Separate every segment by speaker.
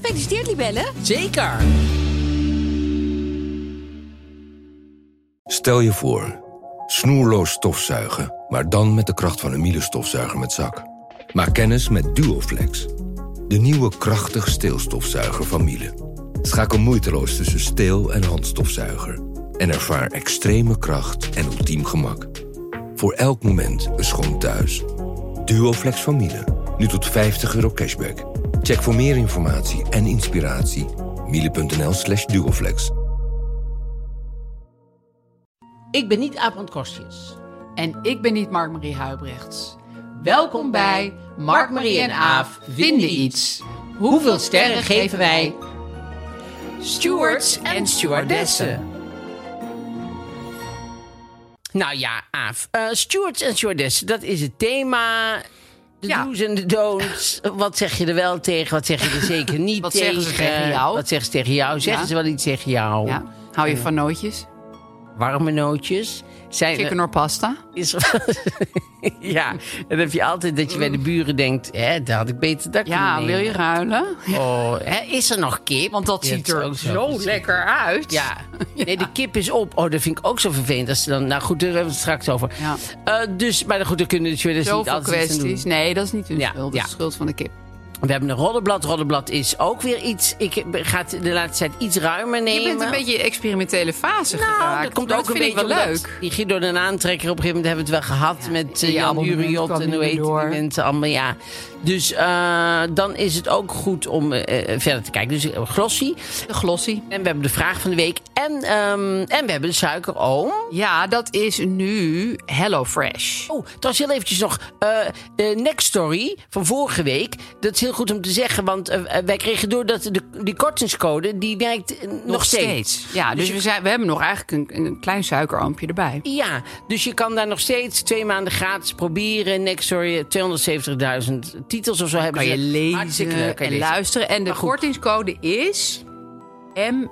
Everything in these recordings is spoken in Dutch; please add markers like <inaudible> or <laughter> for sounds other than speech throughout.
Speaker 1: Gefeliciteerd, Libelle.
Speaker 2: Zeker!
Speaker 3: Stel je voor, snoerloos stofzuigen, maar dan met de kracht van een Miele stofzuiger met zak. Maak kennis met Duoflex, de nieuwe krachtig steelstofzuiger van Miele. Schakel moeiteloos tussen steel- en handstofzuiger en ervaar extreme kracht en ultiem gemak. Voor elk moment een schoon thuis. Duoflex van Miele, nu tot 50 euro cashback. Check voor meer informatie en inspiratie miele.nl slash duoflex.
Speaker 2: Ik ben niet Aap van Kostjes.
Speaker 4: En ik ben niet Mark-Marie Huibrechts. Welkom bij Mark-Marie en Aaf vinden iets. Hoeveel sterren geven wij? Stewards en stewardessen.
Speaker 2: Nou ja, Aaf. eh, stewards en stewardessen, dat is het thema. De
Speaker 4: Ja.
Speaker 2: do's en de don'ts. Wat zeg je er wel tegen, wat zeg je er
Speaker 4: <laughs>
Speaker 2: zeker niet
Speaker 4: Wat
Speaker 2: tegen?
Speaker 4: zeggen ze tegen jou?
Speaker 2: Wat zeggen ze tegen jou? Zeggen
Speaker 4: Ja.
Speaker 2: ze wel iets tegen jou?
Speaker 4: Ja, hou je van nootjes?
Speaker 2: Warme nootjes? Zijn er-
Speaker 4: Chicken or pasta?
Speaker 2: is <laughs> ja, en dan heb je altijd dat je bij de buren denkt... Hè, dat had ik beter dat
Speaker 4: Ja,
Speaker 2: kunnen
Speaker 4: wil je
Speaker 2: nemen.
Speaker 4: ruilen? <laughs>
Speaker 2: Oh, hè, is er nog kip?
Speaker 4: Want dat
Speaker 2: Ja,
Speaker 4: ziet
Speaker 2: het is
Speaker 4: er
Speaker 2: ook
Speaker 4: zo lekker uit. <laughs>
Speaker 2: Ja. Nee, de kip is op. Oh, dat vind ik ook zo vervelend. Als ze dan, nou goed, daar hebben we het straks over.
Speaker 4: Ja.
Speaker 2: Eh, dus, maar goed, daar kunnen de cheerleaders niet
Speaker 4: Zoveel
Speaker 2: altijd iets aan
Speaker 4: kwesties.
Speaker 2: doen.
Speaker 4: Nee, dat is niet hun
Speaker 2: Ja,
Speaker 4: schuld. Dat is
Speaker 2: ja.
Speaker 4: de schuld van de kip.
Speaker 2: We hebben een roddelblad. Roddelblad is ook weer iets... Ik ga het de laatste tijd iets ruimer nemen.
Speaker 4: Je bent een beetje experimentele fase
Speaker 2: Nou,
Speaker 4: geraakt.
Speaker 2: dat komt
Speaker 4: maar
Speaker 2: ook een
Speaker 4: vind ik
Speaker 2: beetje
Speaker 4: wel
Speaker 2: omdat
Speaker 4: leuk.
Speaker 2: Die Guido de aantrekker, op een gegeven moment hebben we het wel gehad... met eh,
Speaker 4: die
Speaker 2: Jan
Speaker 4: abonnement
Speaker 2: Juriot
Speaker 4: kwam
Speaker 2: en hoe
Speaker 4: niet
Speaker 2: heet die
Speaker 4: door.
Speaker 2: mensen allemaal. Ja. Dus eh, dan is het ook goed om eh, eh, verder te kijken. Dus eh, Grossi.
Speaker 4: De glossy.
Speaker 2: En we hebben de vraag van de week. En, ehm, en we hebben de Oh. suikeroom.
Speaker 4: Ja, dat is nu HelloFresh.
Speaker 2: Oh, trouwens heel eventjes nog. eh eh, next story van vorige week. Dat is heel goed om te zeggen. Want eh, eh, wij kregen door dat de, die kortingscode... die werkt eh, nog, steeds.
Speaker 4: Ja, dus, we, zijn, we hebben nog eigenlijk een, een klein suikerampje erbij.
Speaker 2: Ja, dus je kan daar nog steeds twee maanden gratis proberen. Next story, 270.000 titels of zo hebben
Speaker 4: Kan je
Speaker 2: ze. Hartstikke
Speaker 4: lezen
Speaker 2: leuk, kan
Speaker 4: en
Speaker 2: je lezen.
Speaker 4: luisteren. En de
Speaker 2: goed.
Speaker 4: kortingscode is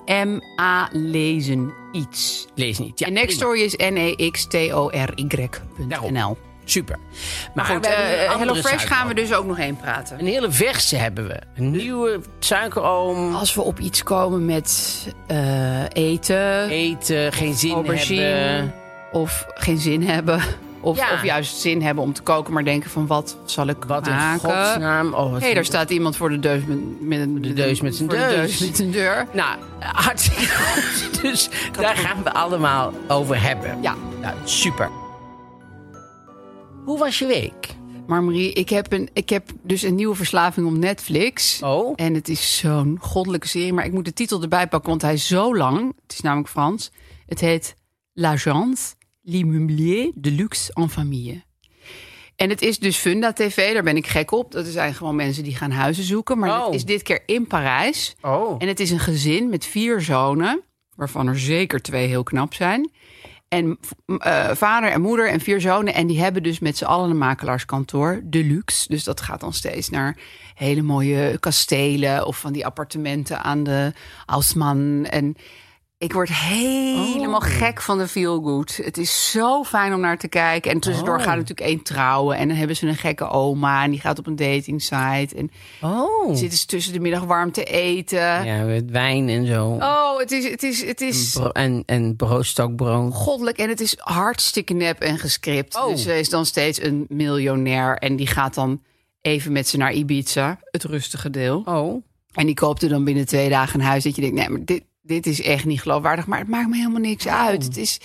Speaker 4: MMA lezen iets.
Speaker 2: Lees niet. Ja,
Speaker 4: en next
Speaker 2: prima.
Speaker 4: story is E N-E-X-T-O-R-Y.nl.
Speaker 2: Super. Maar
Speaker 4: Maar goed,
Speaker 2: we hebben een
Speaker 4: eh,
Speaker 2: andere
Speaker 4: HelloFresh gaan we
Speaker 2: suikeroom.
Speaker 4: dus ook nog heen praten.
Speaker 2: Een hele verse hebben we. Een nieuwe suikeroom.
Speaker 4: Als we op iets komen met eh, eten,
Speaker 2: Eten, geen zin
Speaker 4: aubergine,
Speaker 2: hebben.
Speaker 4: of geen zin hebben. <laughs> Of,
Speaker 2: Ja.
Speaker 4: of juist zin hebben om te koken, maar denken van wat zal ik
Speaker 2: Wat in
Speaker 4: maken?
Speaker 2: godsnaam. Oh, wat
Speaker 4: Hé, daar
Speaker 2: een-
Speaker 4: staat iemand voor de deus met, met, een-
Speaker 2: de deus met zijn
Speaker 4: voor de
Speaker 2: deus.
Speaker 4: deus met een deur.
Speaker 2: Nou, hartstikke goed. Dus daar gaan we allemaal over hebben.
Speaker 4: Ja.
Speaker 2: Nou, super. Hoe was je week?
Speaker 4: Maar Marie, ik heb, een, ik heb dus een nieuwe verslaving op Netflix.
Speaker 2: Oh.
Speaker 4: En het is zo'n goddelijke serie. Maar ik moet de titel erbij pakken, want hij is zo lang. Het is namelijk Frans. Het heet L'Agence, l'immobilier de luxe en famille. En het is dus Funda TV, daar ben ik gek op. Dat zijn gewoon mensen die gaan huizen zoeken. Maar
Speaker 2: Oh.
Speaker 4: het is dit keer in Parijs.
Speaker 2: Oh.
Speaker 4: En het is een gezin met vier zonen, waarvan er zeker twee heel knap zijn. En v- m- eh, vader en moeder en vier zonen. En die hebben dus met z'n allen een makelaarskantoor, de luxe. Dus dat gaat dan steeds naar hele mooie kastelen of van die appartementen aan de Ausman. En ik word helemaal gek van de feel good. Het is zo fijn om naar te kijken. En tussendoor gaat natuurlijk één trouwen. En dan hebben ze een gekke oma. En die gaat op een dating site. En
Speaker 2: Oh.
Speaker 4: zitten ze tussen de middag warm te eten.
Speaker 2: Ja, met wijn en zo.
Speaker 4: Ah. Oh, het is, het is, het is
Speaker 2: Bro- en en broodstokbrood.
Speaker 4: goddelijk en het is hartstikke nep en gescript.
Speaker 2: Oh.
Speaker 4: Dus ze is dan steeds een miljonair en die gaat dan even met ze naar Ibiza, het rustige deel.
Speaker 2: Oh.
Speaker 4: En die koopt er dan binnen twee dagen een huis dat je denkt, nee, maar dit, dit is echt niet geloofwaardig. Maar het maakt me helemaal
Speaker 2: Oh.
Speaker 4: niks uit. Het is,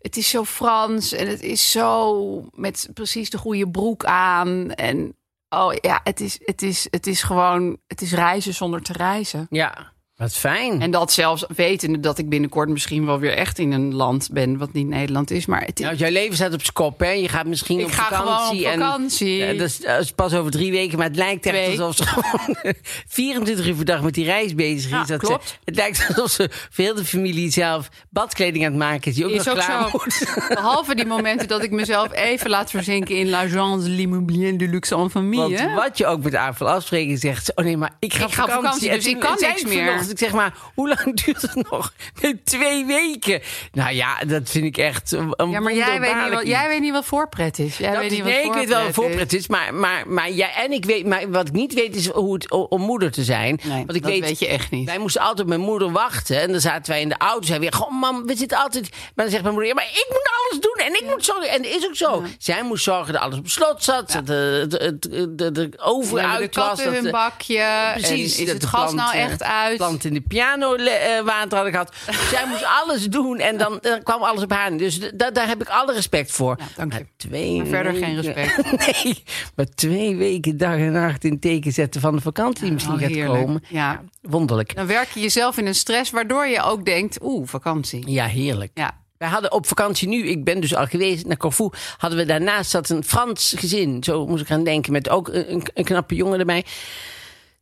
Speaker 4: het is zo Frans en het is zo met precies de goede broek aan. En oh ja, het is, het is, het is gewoon, het is reizen zonder te reizen.
Speaker 2: Ja. Wat fijn.
Speaker 4: En dat zelfs wetende dat ik binnenkort misschien wel weer echt in een land ben wat niet Nederland is. Maar het,
Speaker 2: nou, jouw leven staat op z'n kop, hè? Je gaat misschien
Speaker 4: Ik
Speaker 2: op
Speaker 4: ga
Speaker 2: vakantie.
Speaker 4: gewoon op vakantie.
Speaker 2: En, Ja, dus, dat, is, dat is pas over drie weken, maar het lijkt echt
Speaker 4: Twee.
Speaker 2: alsof ze gewoon <laughs> 24 uur per dag met die reis bezig is.
Speaker 4: Ja,
Speaker 2: dat
Speaker 4: klopt.
Speaker 2: Ze, het lijkt alsof ze voor heel de familie zelf badkleding aan het maken is. Die ook
Speaker 4: is
Speaker 2: nog
Speaker 4: ook
Speaker 2: klaar
Speaker 4: zo.
Speaker 2: moet.
Speaker 4: Behalve die momenten dat ik mezelf even laat verzinken in l'agence l'immobilier de luxe en famille.
Speaker 2: Want wat je ook met AFL afspreken zegt, ze, oh nee, maar ik ga
Speaker 4: Ik
Speaker 2: op
Speaker 4: ga op
Speaker 2: vakantie.
Speaker 4: vakantie,
Speaker 2: En
Speaker 4: dus
Speaker 2: toen
Speaker 4: ik kan
Speaker 2: zei
Speaker 4: niks
Speaker 2: ik
Speaker 4: meer.
Speaker 2: vanochtend, Ik zeg maar, hoe lang <laughs> duurt het nog? Nee, twee weken. Nou ja, dat vind ik echt een
Speaker 4: ja, maar jij weet, niet wat,
Speaker 2: wonderbaarlijk
Speaker 4: jij weet niet wat voorpret is. Jij
Speaker 2: Dat
Speaker 4: weet
Speaker 2: is-
Speaker 4: niet
Speaker 2: nee,
Speaker 4: wat
Speaker 2: ik weet wel wat
Speaker 4: voorpret
Speaker 2: voorpret is. Maar, maar, maar, ja, en ik weet, maar wat ik niet weet is hoe het o- om moeder te zijn.
Speaker 4: Nee,
Speaker 2: Want ik
Speaker 4: dat weet je echt niet.
Speaker 2: Wij moesten altijd op mijn moeder wachten. En dan zaten wij in de auto. Zei weer, goh mam, we zitten altijd... Maar dan zegt mijn moeder, ja, maar ik moet alles doen. En ik moet zorgen. En dat is ook zo. Zij moest zorgen dat alles op slot zat. Dat de, de, de, de, de
Speaker 4: We hebben de
Speaker 2: overuit was.
Speaker 4: katten
Speaker 2: dat
Speaker 4: hun
Speaker 2: de-
Speaker 4: bakje.
Speaker 2: Precies.
Speaker 4: en is
Speaker 2: dat
Speaker 4: het
Speaker 2: de
Speaker 4: gas
Speaker 2: plant,
Speaker 4: nou
Speaker 2: eh,
Speaker 4: echt uit?
Speaker 2: Plant in de piano le- eh, water had ik
Speaker 4: <laughs>
Speaker 2: gehad. Zij moest alles doen en dan, dan kwam alles op haar. Dus d- da- daar heb ik alle respect voor.
Speaker 4: Ja, dank je.
Speaker 2: Maar twee
Speaker 4: Maar verder geen
Speaker 2: weken-
Speaker 4: respect.
Speaker 2: <laughs> nee, maar twee weken dag en nacht in teken zetten van de vakantie die misschien
Speaker 4: Oh,
Speaker 2: gaat
Speaker 4: heerlijk.
Speaker 2: komen.
Speaker 4: Ja.
Speaker 2: Wonderlijk.
Speaker 4: Dan werk je jezelf in een stress waardoor je ook denkt, oeh, vakantie.
Speaker 2: Ja, heerlijk.
Speaker 4: Ja.
Speaker 2: Wij hadden op vakantie nu, ik ben dus al geweest naar Corfu, hadden we daarnaast zat een Frans gezin. Zo moest ik gaan denken, met ook een, een knappe jongen erbij.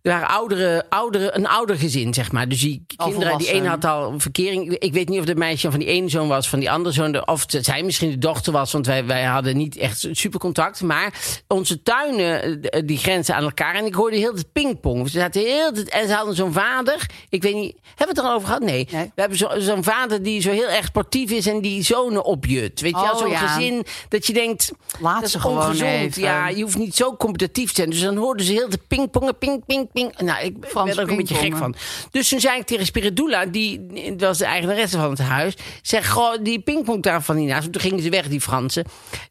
Speaker 2: Er waren oudere, oudere, een ouder gezin, zeg maar. Dus die
Speaker 4: Al
Speaker 2: kinderen, die
Speaker 4: volwassen.
Speaker 2: een had al een verkering. Ik weet niet of het meisje van die ene zoon was, van die andere zoon. de- Of het zij misschien de dochter was, want wij, wij hadden niet echt super contact. Maar onze tuinen, eh, die grenzen aan elkaar. En ik hoorde heel het pingpong. Ze zaten heel het, en ze hadden zo'n vader. Ik weet niet, hebben we het er al over gehad? Nee.
Speaker 4: Nee.
Speaker 2: We hebben zo- zo'n vader die zo heel erg sportief is en die zonen opjut. Weet je wel,
Speaker 4: Oh,
Speaker 2: zo'n
Speaker 4: ja.
Speaker 2: gezin dat je denkt...
Speaker 4: Laat
Speaker 2: dat
Speaker 4: ze
Speaker 2: is
Speaker 4: gewoon
Speaker 2: ongezond.
Speaker 4: even.
Speaker 2: Ja, je hoeft niet zo competitief te zijn. Dus dan hoorden ze heel de pingpongen, ping, ping, ping. Nou, ik
Speaker 4: Frans
Speaker 2: werd er ook een beetje gek van.
Speaker 4: pingpongen.
Speaker 2: Dus toen zei ik tegen Spiridula, die dat was de eigenaresse van het huis... zeg, goh, die pingpongtafel van hiernaast. Toen gingen ze weg, die Fransen,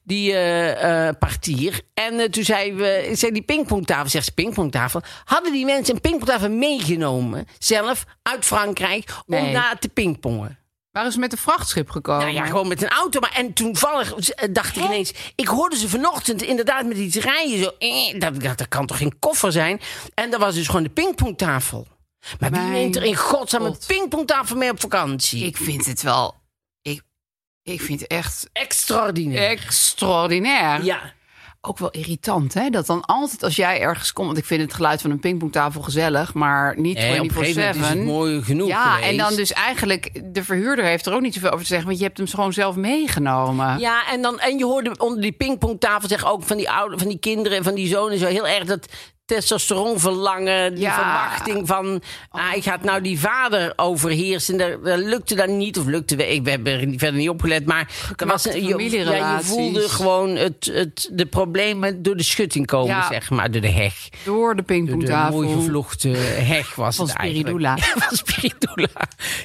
Speaker 2: die eh, eh, partier. En eh, toen zei, we, zei die pingpongtafel, zegt ze pingpongtafel... hadden die mensen een pingpongtafel meegenomen, zelf, uit Frankrijk... om
Speaker 4: Nee.
Speaker 2: na te pingpongen?
Speaker 4: Waar is het met een vrachtschip gekomen?
Speaker 2: Nou ja, gewoon met een auto. Maar en toevallig eh, dacht ik ineens... Ik hoorde ze vanochtend inderdaad met iets rijden. Zo, eh, dat, dat, dat kan toch geen koffer zijn? En dat was dus gewoon de pingpongtafel. Maar wie
Speaker 4: Mijn
Speaker 2: neemt er in godsnaam een
Speaker 4: God.
Speaker 2: pingpongtafel mee op vakantie?
Speaker 4: Ik vind het wel... Ik, ik vind het echt
Speaker 2: Extraordinair.
Speaker 4: extraordinair.
Speaker 2: ja.
Speaker 4: Ook wel irritant, hè? Dat dan altijd als jij ergens komt... Want ik vind het geluid van een pingpongtafel gezellig, maar niet 24-7.
Speaker 2: Eh, op een gegeven moment is het mooi genoeg eh,
Speaker 4: Ja,
Speaker 2: geweest.
Speaker 4: en dan dus eigenlijk... De verhuurder heeft er ook niet zoveel over te zeggen... want je hebt hem gewoon zelf meegenomen.
Speaker 2: Ja, en, dan, en je hoorde onder die pingpongtafel zeg ook van die, oude, van die kinderen en van die zonen zo heel erg dat testosteronverlangen, die
Speaker 4: Ja. Oh.
Speaker 2: verwachting van ah, ik ga het nou die vader overheersen. Dat, dat lukte dan niet, of lukte we, ik we hebben er niet- verder niet opgelet, maar er was een, je, ja, je
Speaker 4: familierelaties.
Speaker 2: voelde gewoon het, het, de problemen door de schutting komen,
Speaker 4: Ja.
Speaker 2: zeg maar, door de heg.
Speaker 4: Door de
Speaker 2: Door de
Speaker 4: pingpongtafel.
Speaker 2: mooi gevlochten heg was
Speaker 4: Van
Speaker 2: het eigenlijk.
Speaker 4: Spiridula.
Speaker 2: <laughs> Van Spiridula.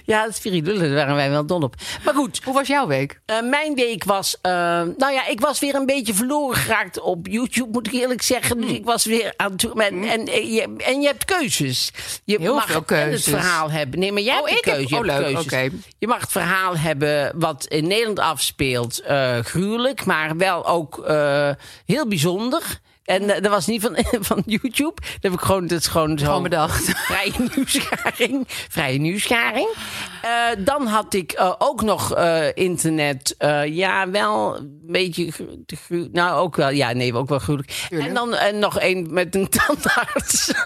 Speaker 2: Ja, Spiridula, daar waren wij wel dol op. Maar goed,
Speaker 4: Hoe was jouw week?
Speaker 2: eh, mijn week was. eh, nou ja, ik was weer een beetje verloren geraakt op YouTube, moet ik eerlijk zeggen.
Speaker 4: Mm.
Speaker 2: Dus ik was weer aan het. En, en, eh, je- en je hebt keuzes. Je
Speaker 4: Heel
Speaker 2: mag
Speaker 4: veel
Speaker 2: en het
Speaker 4: keuzes.
Speaker 2: verhaal hebben. Nee, maar jij
Speaker 4: Oh,
Speaker 2: hebt
Speaker 4: ik
Speaker 2: de
Speaker 4: heb-
Speaker 2: keuze. je
Speaker 4: oh,
Speaker 2: hebt
Speaker 4: leuk,
Speaker 2: keuzes.
Speaker 4: oké.
Speaker 2: Je mag het verhaal hebben wat in Nederland afspeelt. eh, gruwelijk, maar wel ook eh, heel bijzonder. En eh, dat was niet van, <laughs> van YouTube. Dat heb ik gewoon, dat is gewoon zo.
Speaker 4: Gewoon bedacht.
Speaker 2: Vrije <laughs> nieuwsgaring. Vrije nieuwsgaring. Eh, dan had ik eh, ook nog eh, internet. Eh, ja, wel een beetje. gru- te gru- Nou, ook wel. Ja, nee, ook wel gruwelijk. En dan eh, nog één met een
Speaker 4: <laughs>
Speaker 2: tandarts. En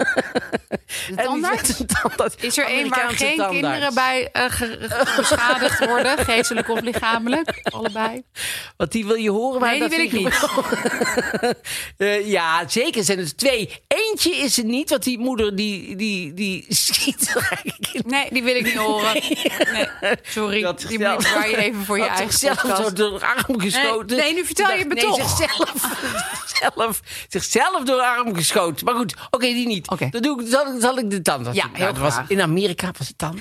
Speaker 2: die
Speaker 4: tandarts?
Speaker 2: zegt een tandarts.
Speaker 4: Is er één waar
Speaker 2: Amerikaanse
Speaker 4: geen
Speaker 2: tandarts.
Speaker 4: kinderen bij eh, ge- ge- beschadigd
Speaker 2: <laughs>
Speaker 4: worden? Geestelijk of lichamelijk? Allebei.
Speaker 2: Want die wil je horen, maar
Speaker 4: Nee,
Speaker 2: dat
Speaker 4: die wil
Speaker 2: vind
Speaker 4: ik
Speaker 2: wel- <laughs> Eh, ja, zeker zijn er twee. Eentje is het niet, want die moeder die, die, die schiet er eigenlijk in
Speaker 4: Nee, die wil ik niet horen. Nee, sorry,
Speaker 2: Dat
Speaker 4: die
Speaker 2: zelf-
Speaker 4: moet waar je even voor je
Speaker 2: Had
Speaker 4: eigen
Speaker 2: zichzelf zo
Speaker 4: podcast. Eh,
Speaker 2: door de arm geschoten.
Speaker 4: Nee, nee, nu vertel je
Speaker 2: Dacht,
Speaker 4: me
Speaker 2: nee,
Speaker 4: toch.
Speaker 2: Zichzelf, zichzelf, zichzelf door de arm geschoten. Maar goed, oké, die niet.
Speaker 4: Oké.
Speaker 2: Dan doe ik, zal, ik- zal ik de tand
Speaker 4: Ja, heel
Speaker 2: dat was,
Speaker 4: graag.
Speaker 2: In Amerika was het tand.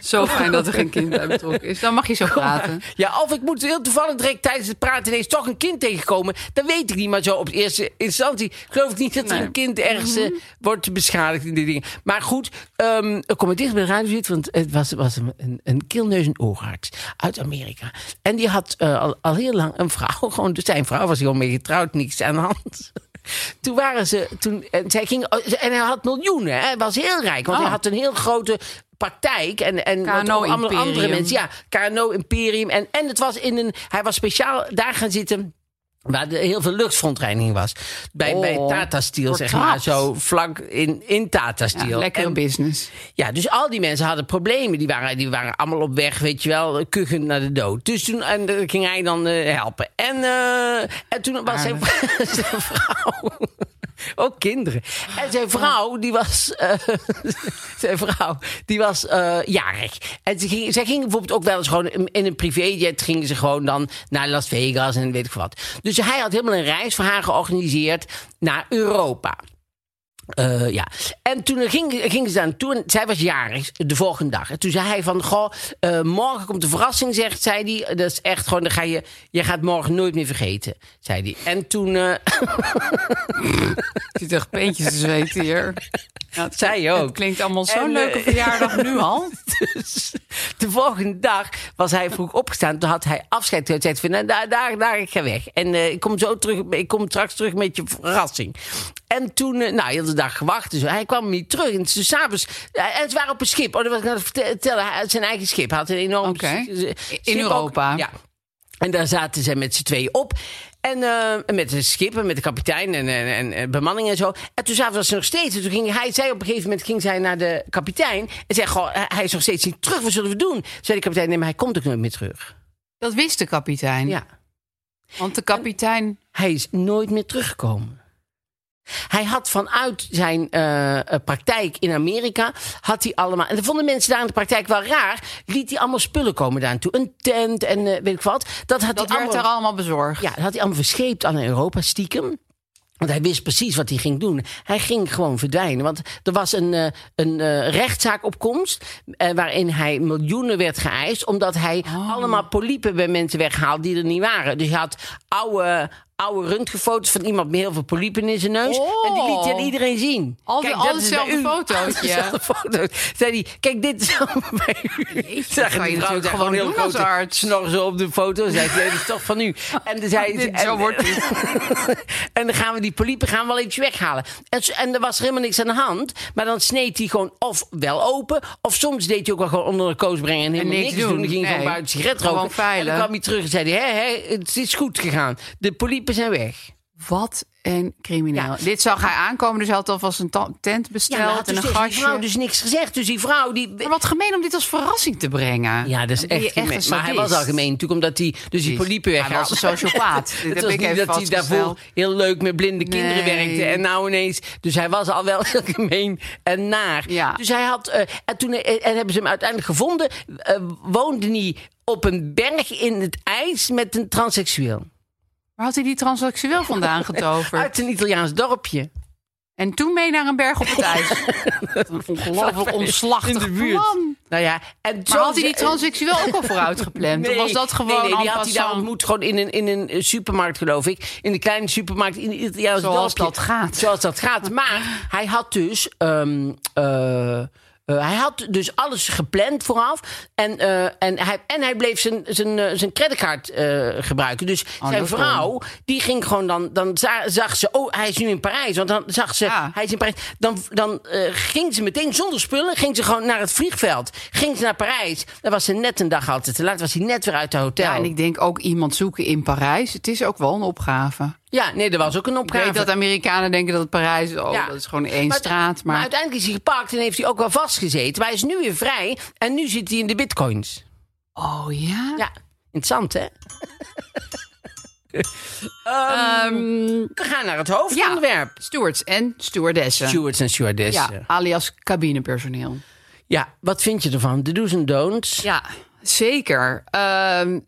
Speaker 4: Zo fijn dat er geen kind bij betrokken is. Dan mag je zo praten.
Speaker 2: Ja, of ik moet heel toevallig direct tijdens het praten ineens toch een kind tegenkomen. Dat weet ik niet, maar zo op de eerste instantie geloof ik niet dat er
Speaker 4: Nee. Mhm.
Speaker 2: een kind ergens eh, wordt beschadigd in die dingen. Maar goed, ehm, ik kom er dicht bij de radio zitten, want het was, was een, een, een keelneus- en oorarts uit Amerika. <laughs> En die had eh, al, al heel lang een vrouw, gewoon, dus zijn vrouw was hij gewoon mee getrouwd, niks aan de hand. <laughs> Toen waren ze, toen, en, zij ging, en hij had miljoenen, hè? hij was heel rijk. Want
Speaker 4: Oh.
Speaker 2: hij had een heel grote praktijk. En, en wat
Speaker 4: KNO
Speaker 2: allemaal andere
Speaker 4: Imperium.
Speaker 2: mensen. Ja, KNO Imperium. En, en het was in een, hij was speciaal daar gaan zitten. Waar de, heel veel luchtverontreiniging was. Bij,
Speaker 4: Oh,
Speaker 2: bij Tata Steel, zeg
Speaker 4: vertrapt.
Speaker 2: maar. Zo vlak in, in Tata
Speaker 4: Ja,
Speaker 2: Steel.
Speaker 4: lekker
Speaker 2: En-
Speaker 4: business.
Speaker 2: ja, dus al die mensen hadden problemen. Die waren, die waren allemaal op weg, weet je wel, kuchend naar de dood. Dus toen en, eh, ging hij dan eh, helpen. En, eh, en toen was zijn, vrou- <laughs> zijn vrouw... Ook kinderen. En zijn vrouw, die was... eh, <laughs> zijn vrouw, die was eh, jarig. En ze ging, zij ging bijvoorbeeld ook wel eens gewoon... in in een privéjet gingen ze gewoon dan naar Las Vegas en weet ik wat. Dus hij had helemaal een reis voor haar georganiseerd naar Europa. Eh, ja. En toen ging, ging ze daar naartoe en zij was jarig de volgende dag. En toen zei hij van, goh, eh, morgen komt de verrassing, zegt zij die. Dat is echt gewoon, dan ga je, je gaat morgen nooit meer vergeten, zei die. En toen, eh, <laughs>
Speaker 4: Het zit echt peentjes te zweten hier. Ja, het-
Speaker 2: zij ook.
Speaker 4: Het klinkt allemaal zo'n
Speaker 2: En,
Speaker 4: leuke
Speaker 2: eh,
Speaker 4: verjaardag nu al.
Speaker 2: dus de volgende dag was hij vroeg opgestaan. Toen had hij afscheid. Toen zei hij van, nou, daar, daar, daar, ik ga weg. En eh, ik kom zo terug, ik kom straks terug met je verrassing. En toen, eh, nou, heel de dag gewacht. Dus hij kwam niet terug. En toen s'avonds, en het waren op een schip. Oh, dat was ik net vertellen. Hij had zijn eigen schip. Hij had een enorm
Speaker 4: Oké.
Speaker 2: schip
Speaker 4: In
Speaker 2: ook.
Speaker 4: Europa.
Speaker 2: Ja. En daar zaten zij met z'n tweeën op. En eh, met de schip en met de kapitein en, en, en, en bemanning en zo. En toen zaten ze nog steeds. En toen ging hij, zij op een gegeven moment ging zij naar de kapitein. En zei, goh, hij hij is nog steeds niet terug. Wat zullen we doen? Toen zei de kapitein, nee, maar hij komt ook nooit meer terug.
Speaker 4: <laughs> Dat wist de kapitein.
Speaker 2: Ja.
Speaker 4: Want de kapitein...
Speaker 2: Hij is nooit meer teruggekomen. Hij had vanuit zijn eh, eh, praktijk in Amerika, had hij allemaal... En dat vonden mensen daar in de praktijk wel raar. Liet hij allemaal spullen komen daar naartoe. Een tent en eh, weet ik wat. Dat had
Speaker 4: Dat
Speaker 2: hij
Speaker 4: werd
Speaker 2: allemaal...
Speaker 4: er allemaal bezorgd.
Speaker 2: Ja, dat had hij allemaal verscheept aan Europa stiekem. Want hij wist precies wat hij ging doen. Hij ging gewoon verdwijnen. Want er was een, eh, een eh, rechtszaak op komst. eh, waarin hij miljoenen werd geëist. Omdat hij
Speaker 4: Oh.
Speaker 2: allemaal poliepen bij mensen weghaalde die er niet waren. Dus hij had oude, oude röntgenfoto's van iemand met heel veel poliepen in zijn neus.
Speaker 4: Oh.
Speaker 2: En die liet hij aan iedereen zien.
Speaker 4: Al die- al
Speaker 2: dat is bij
Speaker 4: hetzelfde
Speaker 2: u. <laughs>
Speaker 4: fotootje.
Speaker 2: Al dezelfde foto's. Zei hij, kijk, dit is <laughs> allemaal bij u. Zag
Speaker 4: kan je
Speaker 2: die vrouw
Speaker 4: natuurlijk
Speaker 2: daar
Speaker 4: gewoon
Speaker 2: heel
Speaker 4: doen als
Speaker 2: grote
Speaker 4: arts.
Speaker 2: snor zo op de foto. Zei ik, nee, dat is toch van u. En toen
Speaker 4: <laughs>
Speaker 2: zei
Speaker 4: Dit-
Speaker 2: en-
Speaker 4: zo wordt het.
Speaker 2: <laughs> en dan gaan we die poliepen gaan we wel eventjes weghalen. En, s- en er was helemaal niks aan de hand. Maar dan sneed hij gewoon of wel open. Of soms deed hij ook wel gewoon onder de koos brengen. En helemaal
Speaker 4: niks
Speaker 2: niks, doen.
Speaker 4: doen.
Speaker 2: Dan ging hij
Speaker 4: Nee.
Speaker 2: gewoon buiten sigaret
Speaker 4: Gewoon
Speaker 2: roken. En
Speaker 4: veilig.
Speaker 2: dan kwam hij terug en zei hij... Hé, hé, het is goed gegaan. De poliepen zijn weg.
Speaker 4: Wat een crimineel.
Speaker 2: Ja.
Speaker 4: Dit zag hij aankomen, dus hij had alvast een ta- tent
Speaker 2: Ja,
Speaker 4: besteld
Speaker 2: maar had
Speaker 4: en
Speaker 2: dus
Speaker 4: een
Speaker 2: tegen die vrouw
Speaker 4: gastje.
Speaker 2: dus niks gezegd. Dus die vrouw die...
Speaker 4: Maar wat gemeen om dit als verrassing te brengen.
Speaker 2: Ja, dat is
Speaker 4: Dan ben je
Speaker 2: echt gemeen.
Speaker 4: een
Speaker 2: Maar hij was
Speaker 4: sadist.
Speaker 2: al gemeen natuurlijk, omdat hij dus die
Speaker 4: Precies.
Speaker 2: poliepen
Speaker 4: Hij
Speaker 2: weg
Speaker 4: was een
Speaker 2: <laughs>
Speaker 4: sociopaat. Dit
Speaker 2: Het
Speaker 4: heb
Speaker 2: was
Speaker 4: ik
Speaker 2: niet
Speaker 4: even
Speaker 2: dat hij daarvoor
Speaker 4: vastgesteld.
Speaker 2: heel leuk met blinde kinderen
Speaker 4: Nee.
Speaker 2: werkte. En nou ineens... Dus hij was al wel <laughs> heel gemeen en naar.
Speaker 4: Ja.
Speaker 2: Dus hij had... eh, en toen eh, en hebben ze hem uiteindelijk gevonden. eh, woonde hij op een berg in het ijs met een transseksueel.
Speaker 4: Waar had hij die transseksueel vandaan
Speaker 2: <laughs>
Speaker 4: getoverd?
Speaker 2: Uit een Italiaans dorpje.
Speaker 4: En toen mee naar een berg op het ijs. een ongelooflijk
Speaker 2: In
Speaker 4: omslachtig
Speaker 2: de buurt.
Speaker 4: plan.
Speaker 2: Nou ja, en
Speaker 4: Maar had hij
Speaker 2: transseksueel
Speaker 4: die transseksueel ook al vooruit gepland? Of was dat
Speaker 2: nee,
Speaker 4: gewoon
Speaker 2: nee, die
Speaker 4: en
Speaker 2: had hij daar
Speaker 4: passant?
Speaker 2: ontmoet gewoon in een, in een eh, supermarkt, geloof ik. In een kleine supermarkt in een Italiaans
Speaker 4: Zoals
Speaker 2: dorpje.
Speaker 4: dat gaat.
Speaker 2: Zoals dat gaat. Maar hij had dus... ehm, eh, eh, hij had dus alles gepland vooraf. En, eh, en, hij, en hij bleef zijn, zijn, eh, zijn creditcard eh, gebruiken. Dus zijn
Speaker 4: Oh, dat is
Speaker 2: vrouw, die ging gewoon dan... Dan za- zag ze, oh, hij is nu in Parijs. Want dan zag ze,
Speaker 4: Ja.
Speaker 2: hij is in Parijs. Dan, dan eh, ging ze meteen zonder spullen ging ze gewoon naar het vliegveld. Ging ze naar Parijs. Dan was ze net een dag altijd te laat. Was hij net weer uit het hotel.
Speaker 4: Ja, en ik denk ook iemand zoeken in Parijs. Het is ook wel een opgave.
Speaker 2: Ja, nee, er was ook een opgave.
Speaker 4: Ik weet dat Amerikanen denken dat Parijs, oh,
Speaker 2: Ja.
Speaker 4: dat is gewoon één
Speaker 2: Maar-
Speaker 4: straat.
Speaker 2: Maar
Speaker 4: Maar,
Speaker 2: uiteindelijk is hij gepakt en heeft hij ook wel vastgezeten. Maar hij is nu weer vrij en nu zit hij in de bitcoins.
Speaker 4: oh ja?
Speaker 2: Ja, interessant
Speaker 4: <laughs>
Speaker 2: hè?
Speaker 4: Ehm,
Speaker 2: We gaan naar het hoofdonderwerp.
Speaker 4: stewards en stewardessen.
Speaker 2: Stewards en stewardessen.
Speaker 4: ja,
Speaker 2: Ja.
Speaker 4: alias cabinepersoneel.
Speaker 2: wat vind je ervan? De do's en don'ts.
Speaker 4: Ja, zeker. Ehm,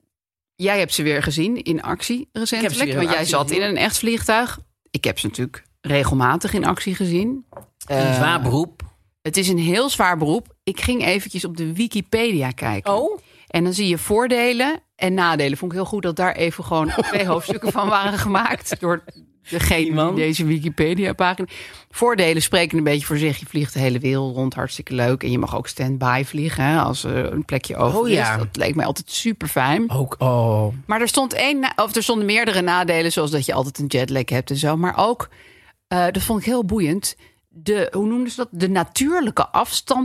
Speaker 4: jij hebt ze weer gezien in actie recentelijk.
Speaker 2: weer in
Speaker 4: want jij
Speaker 2: actie
Speaker 4: zat
Speaker 2: gezien.
Speaker 4: in een echt vliegtuig. Ik heb ze natuurlijk regelmatig in actie gezien. Eh.
Speaker 2: Een zwaar beroep.
Speaker 4: Het is een heel zwaar beroep. Ik ging eventjes op de Wikipedia kijken.
Speaker 2: Oh.
Speaker 4: En dan zie je
Speaker 2: <laughs>
Speaker 4: voordelen en nadelen. Vond ik heel goed dat daar even gewoon twee hoofdstukken van waren gemaakt. Door Degene die
Speaker 2: Iemand.
Speaker 4: deze Wikipedia-pagina. Voordelen spreken een beetje voor zich. Je vliegt de hele wereld rond, hartstikke leuk. En je mag ook stand-by vliegen hè, als er een plekje over
Speaker 2: Oh,
Speaker 4: is.
Speaker 2: ja.
Speaker 4: Dat leek mij altijd super fijn.
Speaker 2: Ook, oh.
Speaker 4: Maar er, stond één, na- of er stonden meerdere nadelen, zoals dat je altijd een jetlag hebt en zo. Maar ook, eh, dat vond ik heel boeiend, de, hoe noemden ze dat? De natuurlijke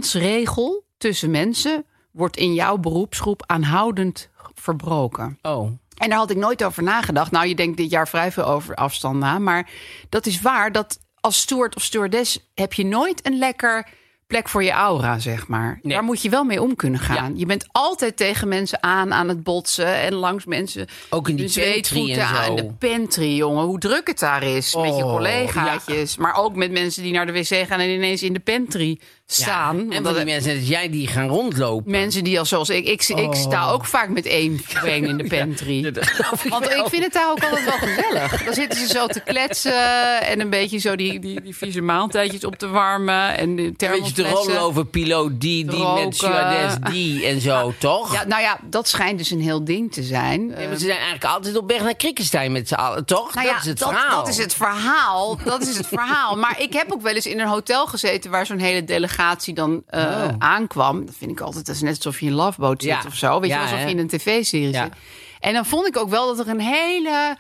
Speaker 4: afstandsregel tussen mensen wordt in jouw beroepsgroep aanhoudend verbroken.
Speaker 2: Oh.
Speaker 4: En daar had ik nooit over nagedacht. Nou, je denkt dit jaar vrij veel over afstand na. Maar dat is waar. Dat als steward of stewardess heb je nooit een lekker plek voor je aura, zeg maar.
Speaker 2: Nee.
Speaker 4: Daar moet je wel mee om kunnen gaan. Je bent altijd tegen mensen aan aan het botsen. En langs mensen.
Speaker 2: Ook in die
Speaker 4: hun
Speaker 2: pantry
Speaker 4: zweetvoeten
Speaker 2: en
Speaker 4: aan.
Speaker 2: zo.
Speaker 4: de pantry, jongen. Hoe druk het daar is met je
Speaker 2: Oh,
Speaker 4: collegaatjes. Maar ook met mensen die naar de wc gaan en ineens in de pantry
Speaker 2: Ja.
Speaker 4: staan.
Speaker 2: En van
Speaker 4: Omdat
Speaker 2: die
Speaker 4: het-
Speaker 2: mensen als jij die gaan rondlopen.
Speaker 4: Mensen die al zoals ik, ik, ik sta
Speaker 2: Oh.
Speaker 4: ook vaak met één been in de
Speaker 2: <laughs>
Speaker 4: pantry.
Speaker 2: <laughs> Dat geloof ik
Speaker 4: Want
Speaker 2: wel.
Speaker 4: ik vind het daar ook altijd wel gezellig. Dan zitten ze zo te kletsen en een beetje zo die, die, die vieze maaltijdjes op te warmen. En de
Speaker 2: Een beetje te rollen
Speaker 4: thermosflessen.
Speaker 2: over piloot die, die
Speaker 4: Roken.
Speaker 2: met stewardess die en zo, toch?
Speaker 4: Ja, nou ja, dat schijnt dus een heel ding te zijn.
Speaker 2: Nee,
Speaker 4: Eh,
Speaker 2: maar ze zijn eigenlijk altijd op weg naar Krikkenstein met z'n allen, toch?
Speaker 4: nou
Speaker 2: dat
Speaker 4: ja,
Speaker 2: is het
Speaker 4: dat,
Speaker 2: verhaal.
Speaker 4: dat is het verhaal. Dat is het verhaal. Maar ik heb ook wel eens in een hotel gezeten waar zo'n hele delegatie dan eh, aankwam. Dat vind ik altijd, dat is net alsof je in Love Boat zit
Speaker 2: Oh. Ja.
Speaker 4: of zo. Weet
Speaker 2: Ja,
Speaker 4: je, alsof
Speaker 2: hè?
Speaker 4: je in een tv-serie
Speaker 2: Ja.
Speaker 4: zit. En dan vond ik ook wel dat er een hele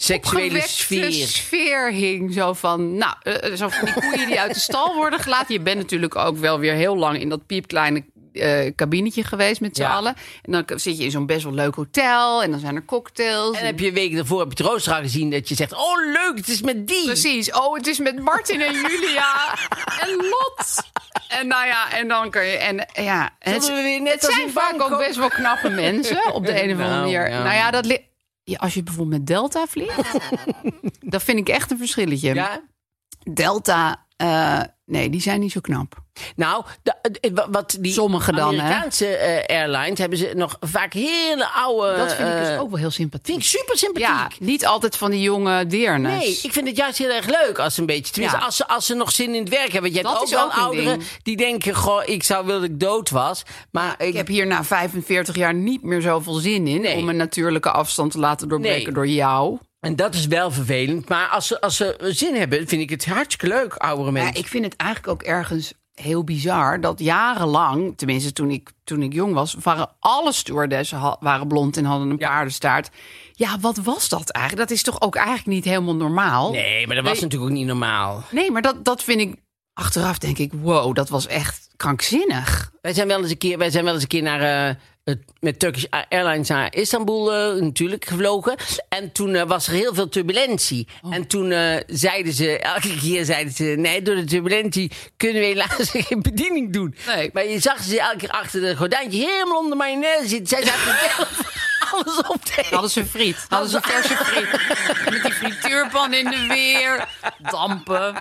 Speaker 2: Seksuele
Speaker 4: opgewekte
Speaker 2: sfeer.
Speaker 4: sfeer hing. Zo van, nou, eh, eh, zo van die koeien die uit de
Speaker 2: <laughs>
Speaker 4: stal worden gelaten. Je bent natuurlijk ook wel weer heel lang in dat piepkleine eh kabinetje geweest met z'n
Speaker 2: Ja.
Speaker 4: allen. En dan k- zit je in zo'n best wel leuk hotel. En dan zijn er cocktails.
Speaker 2: En heb je een week daarvoor op je rooster gezien dat je zegt... Oh, leuk, het is met die.
Speaker 4: Precies. Oh, het is met Martin en Julia
Speaker 2: <laughs>
Speaker 4: en Lot. En nou ja, en dan kan je... En, eh, ja, en het,
Speaker 2: Zullen we weer net
Speaker 4: het
Speaker 2: als
Speaker 4: zijn
Speaker 2: in
Speaker 4: vaak
Speaker 2: Bangkok?
Speaker 4: ook best wel
Speaker 2: <laughs>
Speaker 4: knappe mensen op de een of andere
Speaker 2: Nou,
Speaker 4: manier.
Speaker 2: ja.
Speaker 4: Nou ja, dat li- ja, als je bijvoorbeeld met Delta
Speaker 2: <laughs>
Speaker 4: vliegt, dat vind ik echt een verschilletje.
Speaker 2: Ja?
Speaker 4: Delta, eh, nee, die zijn niet zo knap.
Speaker 2: Nou, de- eh, wa- wat die
Speaker 4: Sommige dan, hè?
Speaker 2: Amerikaanse eh, airlines hebben ze nog vaak hele oude...
Speaker 4: Dat vind ik dus
Speaker 2: eh,
Speaker 4: ook wel heel
Speaker 2: Vind ik
Speaker 4: sympathiek.
Speaker 2: super sympathiek.
Speaker 4: Ja, niet altijd van die jonge deernes.
Speaker 2: Nee, ik vind het juist heel erg leuk als ze een beetje. Tenminste,
Speaker 4: Ja.
Speaker 2: als, ze, als ze nog zin in het werk hebben. Want je hebt
Speaker 4: Dat
Speaker 2: ook
Speaker 4: is
Speaker 2: wel
Speaker 4: ook een
Speaker 2: ouderen
Speaker 4: ding.
Speaker 2: die denken: Goh, ik zou willen dat ik dood was. Maar ik,
Speaker 4: Ik heb hier na 45 jaar niet meer zoveel zin in
Speaker 2: Nee.
Speaker 4: om een natuurlijke afstand te laten doorbreken
Speaker 2: Nee.
Speaker 4: door jou.
Speaker 2: En dat is wel vervelend. Maar als ze, als ze zin hebben, vind ik het hartstikke leuk, oudere mensen.
Speaker 4: Ja, ik vind het eigenlijk ook ergens heel bizar dat jarenlang, tenminste toen ik, toen ik jong was, waren alle stewardessen ha- waren blond en hadden een
Speaker 2: Ja.
Speaker 4: paardenstaart. Ja, wat was dat eigenlijk? Dat is toch ook eigenlijk niet helemaal normaal?
Speaker 2: Nee, maar dat was
Speaker 4: Nee.
Speaker 2: natuurlijk ook niet normaal.
Speaker 4: Nee, maar dat, dat vind ik. Achteraf denk ik, wow, dat was echt krankzinnig.
Speaker 2: Wij zijn wel eens een keer, wij zijn wel eens een keer naar, eh, het, met Turkish Airlines naar Istanbul eh, natuurlijk gevlogen. En toen eh, was er heel veel turbulentie. En toen eh, zeiden ze, <laughs> elke keer zeiden ze... nee, door de turbulentie kunnen we helaas <laughs> geen bediening doen.
Speaker 4: Nee.
Speaker 2: Maar je zag ze elke keer achter de gordijntje helemaal onder mayonaise zitten. Zij <laughs> zaten zelf alles op te eten.
Speaker 4: Hadden ze friet. Hadden ze verse friet. Met die frituurpan in de weer. Dampen.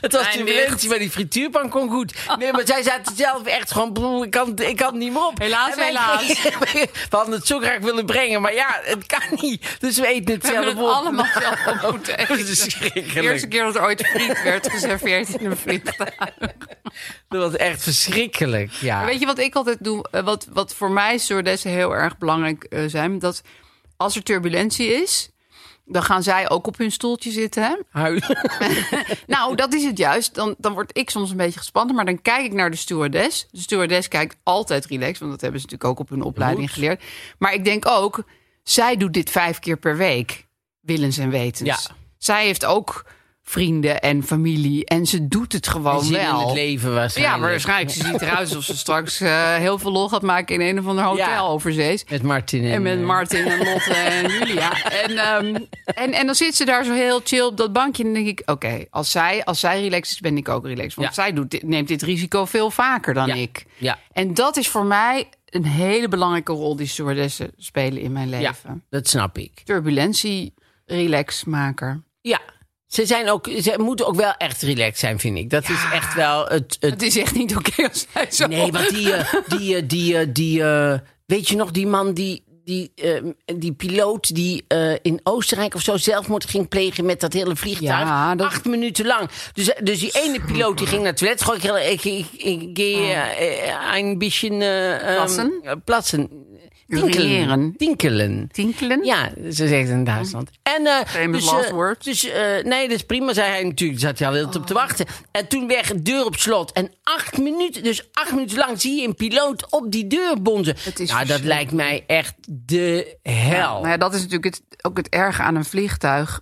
Speaker 2: Het was
Speaker 4: Mijn
Speaker 2: turbulentie,
Speaker 4: nicht.
Speaker 2: maar die frituurpan kon goed. Nee, maar zij zaten zelf echt gewoon... broer, Ik kan, ik kan het niet meer op.
Speaker 4: Helaas,
Speaker 2: En wij
Speaker 4: helaas.
Speaker 2: kregen- <laughs> we hadden het zo graag willen brengen, maar ja, het kan niet. Dus we eten het
Speaker 4: We
Speaker 2: zelf
Speaker 4: hebben het
Speaker 2: op.
Speaker 4: allemaal <laughs> zelf op moeten
Speaker 2: <laughs> Dat
Speaker 4: eten.
Speaker 2: is
Speaker 4: De eerste
Speaker 2: verschrikkelijk.
Speaker 4: keer dat er ooit friet werd geserveerd in een vliegtuig.
Speaker 2: Dat was echt verschrikkelijk, ja.
Speaker 4: Maar Weet je wat ik altijd doe? eh, Wat, wat voor mij stewardessen heel erg belangrijk eh, zijn. Dat als er turbulentie is, dan gaan zij ook op hun stoeltje zitten. Hè?
Speaker 2: Huilen.
Speaker 4: Nou, dat is het juist. Dan, dan word ik soms een beetje gespannen, maar dan kijk ik naar de stewardess. De stewardess kijkt altijd relaxed, want dat hebben ze natuurlijk ook op hun opleiding geleerd. Maar ik denk ook, zij doet dit vijf keer per week, willens en wetens.
Speaker 2: Ja.
Speaker 4: Zij heeft ook vrienden en familie en ze doet het gewoon
Speaker 2: Zin in
Speaker 4: wel.
Speaker 2: het leven
Speaker 4: Ja,
Speaker 2: waarschijnlijk.
Speaker 4: maar waarschijnlijk. Ze ziet eruit alsof ze straks eh, heel veel lol gaat maken in een of ander hotel
Speaker 2: Ja.
Speaker 4: overzees.
Speaker 2: Met Martin en...
Speaker 4: En met
Speaker 2: eh,
Speaker 4: Martin
Speaker 2: <laughs>
Speaker 4: en Lotte en Julia. En, ehm, en, en dan zit ze daar zo heel chill op dat bankje. En dan denk ik, oké, als, zij, als zij relaxed is, ben ik ook relaxed. Want
Speaker 2: Ja.
Speaker 4: zij doet, dit- neemt dit risico veel vaker dan
Speaker 2: Ja.
Speaker 4: ik.
Speaker 2: Ja.
Speaker 4: En dat is voor mij een hele belangrijke rol die stewardessen spelen in mijn
Speaker 2: ja,
Speaker 4: leven.
Speaker 2: dat snap ik.
Speaker 4: Turbulentie, relaxmaker.
Speaker 2: Ja. Ze, zijn ook, ze moeten ook wel echt relaxed zijn, vind ik. Dat is echt wel het, het
Speaker 4: Het is echt niet oké als zij <laughs> zo...
Speaker 2: Nee, want die, eh, die, eh, die, eh, die eh, weet je nog, die man die, die, eh, die piloot die eh, in Oostenrijk of zo zelfmoord ging plegen met dat hele vliegtuig.
Speaker 4: Ja, dat-
Speaker 2: Acht minuten lang. Dus, eh, dus die ene piloot die ging naar het toilet. Gewoon, ik, ik, ik, ik, ik eh, eh, een beetje eh, ehm,
Speaker 4: Oh. Plassen?
Speaker 2: eh, plassen.
Speaker 4: Urineren.
Speaker 2: Tinkelen.
Speaker 4: Tinkelen?
Speaker 2: Ja, ze zegt in Duitsland.
Speaker 4: Oh.
Speaker 2: En, eh,
Speaker 4: Famous
Speaker 2: dus, eh,
Speaker 4: last words.
Speaker 2: Dus, eh, nee, dat is prima, zei hij natuurlijk. Daar zat hij al heel
Speaker 4: Oh.
Speaker 2: op te wachten. En toen weg, deur op slot. En acht minuten, dus acht minuten lang zie je een piloot op die deur bonzen.
Speaker 4: Het is
Speaker 2: nou, dat
Speaker 4: verschrikkelijk.
Speaker 2: lijkt mij echt de hel.
Speaker 4: Nou ja, dat is natuurlijk het, ook het erge aan een vliegtuig.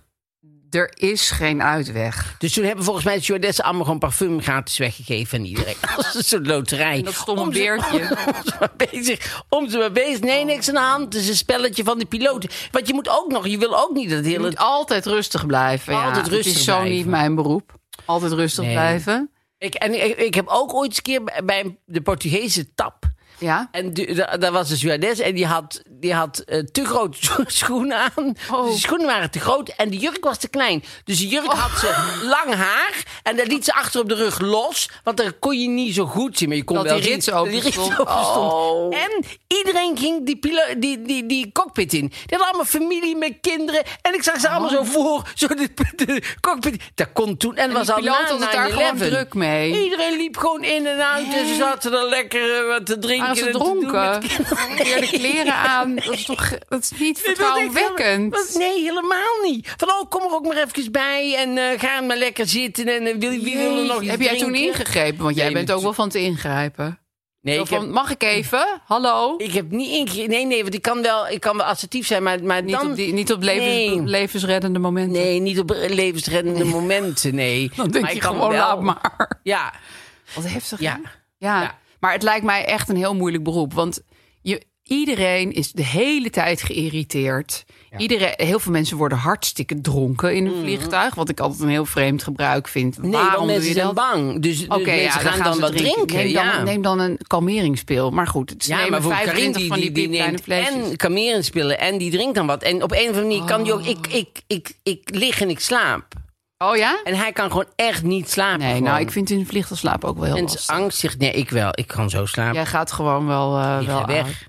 Speaker 4: Er is geen uitweg.
Speaker 2: Dus toen hebben volgens mij de stewardessen allemaal gewoon parfum gratis weggegeven aan
Speaker 4: <laughs>
Speaker 2: iedereen. Als een soort loterij.
Speaker 4: En dat stomme
Speaker 2: Om ze-
Speaker 4: beertje.
Speaker 2: <laughs> Om ze maar bezig. Om ze maar bezig.
Speaker 4: Oh.
Speaker 2: Nee, niks aan de hand. Het is een spelletje van de piloten. Want je moet ook nog, je wil ook niet dat het
Speaker 4: Je
Speaker 2: hele...
Speaker 4: moet altijd rustig blijven. ja.
Speaker 2: Altijd
Speaker 4: Het
Speaker 2: rustig
Speaker 4: is zo
Speaker 2: blijven.
Speaker 4: niet mijn beroep. Altijd rustig
Speaker 2: Nee.
Speaker 4: blijven.
Speaker 2: Ik, en ik, ik heb ook ooit eens een keer bij- bij de Portugese tap.
Speaker 4: Ja.
Speaker 2: En du- da- daar was een stewardess en die had, die had eh, te grote <laughs> scho- schoenen aan.
Speaker 4: Oh.
Speaker 2: Dus de schoenen waren te groot en de jurk was te klein. Dus de jurk had ze
Speaker 4: Oh. <laughs>
Speaker 2: lang haar en dat liet ze achter op de rug los. Want daar kon je niet zo goed zien. Maar je kon
Speaker 4: Dat
Speaker 2: wel
Speaker 4: die
Speaker 2: zien
Speaker 4: rits open
Speaker 2: dat die
Speaker 4: stond.
Speaker 2: open stond.
Speaker 4: Oh.
Speaker 2: En iedereen ging die, pilo- die, die, die cockpit in. Die hadden allemaal familie met kinderen. En ik zag ze
Speaker 4: Oh.
Speaker 2: allemaal zo voor. Zo de, de cockpit. Dat kon toen. En, was
Speaker 4: die
Speaker 2: al
Speaker 4: piloot
Speaker 2: na
Speaker 4: had het daar gewoon
Speaker 2: 9/11.
Speaker 4: druk mee.
Speaker 2: Iedereen liep gewoon in en uit. En ze zaten er lekker eh, wat te drinken
Speaker 4: Maar als ze
Speaker 2: en te doen met
Speaker 4: dronken,
Speaker 2: kinderen.
Speaker 4: weer de kleren aan. Dat is toch dat is
Speaker 2: Dit
Speaker 4: niet
Speaker 2: was echt
Speaker 4: vertrouwenwekkend.
Speaker 2: helemaal- was- nee, helemaal niet. Van, oh, kom er ook maar even bij en eh, ga maar lekker zitten. En eh, wil, wie wil er nog iets
Speaker 4: Heb jij toen
Speaker 2: drinken?
Speaker 4: ingegrepen? Want jij
Speaker 2: Nee,
Speaker 4: bent
Speaker 2: maar-
Speaker 4: ook wel van te ingrijpen.
Speaker 2: Nee,
Speaker 4: Zo
Speaker 2: ik heb,
Speaker 4: van, Mag ik even? Hallo?
Speaker 2: ik heb niet ingegrepen. Nee, nee, want ik kan wel, ik kan wel assertief zijn, maar, maar
Speaker 4: Niet
Speaker 2: dan...
Speaker 4: op, die, niet op levens-
Speaker 2: Nee.
Speaker 4: levensreddende momenten.
Speaker 2: Nee, niet op levensreddende momenten, nee.
Speaker 4: <laughs> Dan denk
Speaker 2: Maar
Speaker 4: je
Speaker 2: ik kan
Speaker 4: gewoon,
Speaker 2: wel-
Speaker 4: laat maar.
Speaker 2: Ja,
Speaker 4: Wat heftig, hè?
Speaker 2: Ja.
Speaker 4: ja.
Speaker 2: Ja.
Speaker 4: Maar het lijkt mij echt een heel moeilijk beroep. Want je, iedereen is de hele tijd geïrriteerd. Iedereen, heel veel mensen worden hartstikke dronken in een vliegtuig. Wat ik altijd een heel vreemd gebruik vind.
Speaker 2: Mhm. nee,
Speaker 4: Waarom
Speaker 2: want
Speaker 4: doe
Speaker 2: mensen
Speaker 4: je
Speaker 2: zijn
Speaker 4: dat?
Speaker 2: bang. Dus de mensen
Speaker 4: ja,
Speaker 2: gaan, dan
Speaker 4: ze
Speaker 2: wat drinken.
Speaker 4: Neem dan,
Speaker 2: ja.
Speaker 4: neem dan een kalmeringspil. Maar goed, het is
Speaker 2: Ja,
Speaker 4: nemen
Speaker 2: maar voor
Speaker 4: 25
Speaker 2: Karin
Speaker 4: van die, piepkleine
Speaker 2: neemt
Speaker 4: flesjes.
Speaker 2: en kameren spillen en die drinkt dan wat. En op een of andere manier kan die ook... Ik, ik, ik, ik lig en ik slaap.
Speaker 4: Oh ja?
Speaker 2: En hij kan gewoon echt niet slapen.
Speaker 4: Nee,
Speaker 2: gewoon.
Speaker 4: nou, ik vind in een vliegtuig slapen ook wel heel
Speaker 2: Mensen
Speaker 4: lastig.
Speaker 2: angst zich... Nee, ik wel. Ik kan zo slapen.
Speaker 4: Jij gaat gewoon wel, eh,
Speaker 2: Ik
Speaker 4: wel
Speaker 2: ga weg.
Speaker 4: uit.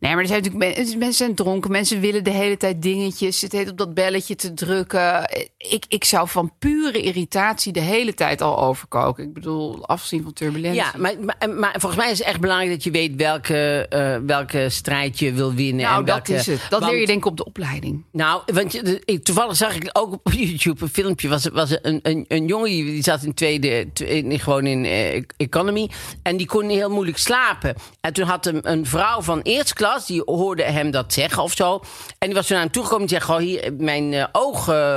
Speaker 4: Nee, maar er zijn natuurlijk men- mensen zijn dronken. Mensen willen de hele tijd dingetjes. Het heet op dat belletje te drukken. Eh, Ik, ik zou van pure irritatie de hele tijd al overkoken. Ik bedoel, afzien van turbulentie.
Speaker 2: Ja, maar, maar, maar volgens mij is het echt belangrijk dat je weet welke, eh, welke strijd je wil winnen.
Speaker 4: nou,
Speaker 2: en
Speaker 4: dat
Speaker 2: welke,
Speaker 4: is het. Dat
Speaker 2: want-
Speaker 4: leer je denk ik op de opleiding.
Speaker 2: Nou, want je- de- ik- toevallig zag ik ook op <laughs> YouTube een filmpje. Was, was een, een, een jongen die die zat in tweede, tw- in, gewoon in eh, economy. En die kon heel moeilijk slapen. En toen had hem een vrouw van eerste klas, die hoorde hem dat zeggen of zo. En die was toen naar hem toegekomen en die zei: Goh, hier mijn eh,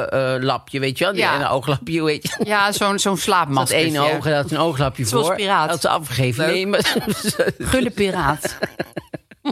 Speaker 2: ooglapje, weet je wel? Die
Speaker 4: Ja.
Speaker 2: ene ooglapje, weet je.
Speaker 4: Ja, zo'n zo'n
Speaker 2: Dat
Speaker 4: slaapmasker.
Speaker 2: één oog, dat is een ooglapje
Speaker 4: Zoals
Speaker 2: voor.
Speaker 4: piraat.
Speaker 2: Dat ze afgegeven.
Speaker 4: Leuk.
Speaker 2: Nee, maar <laughs>
Speaker 4: <laughs> Gulle piraat.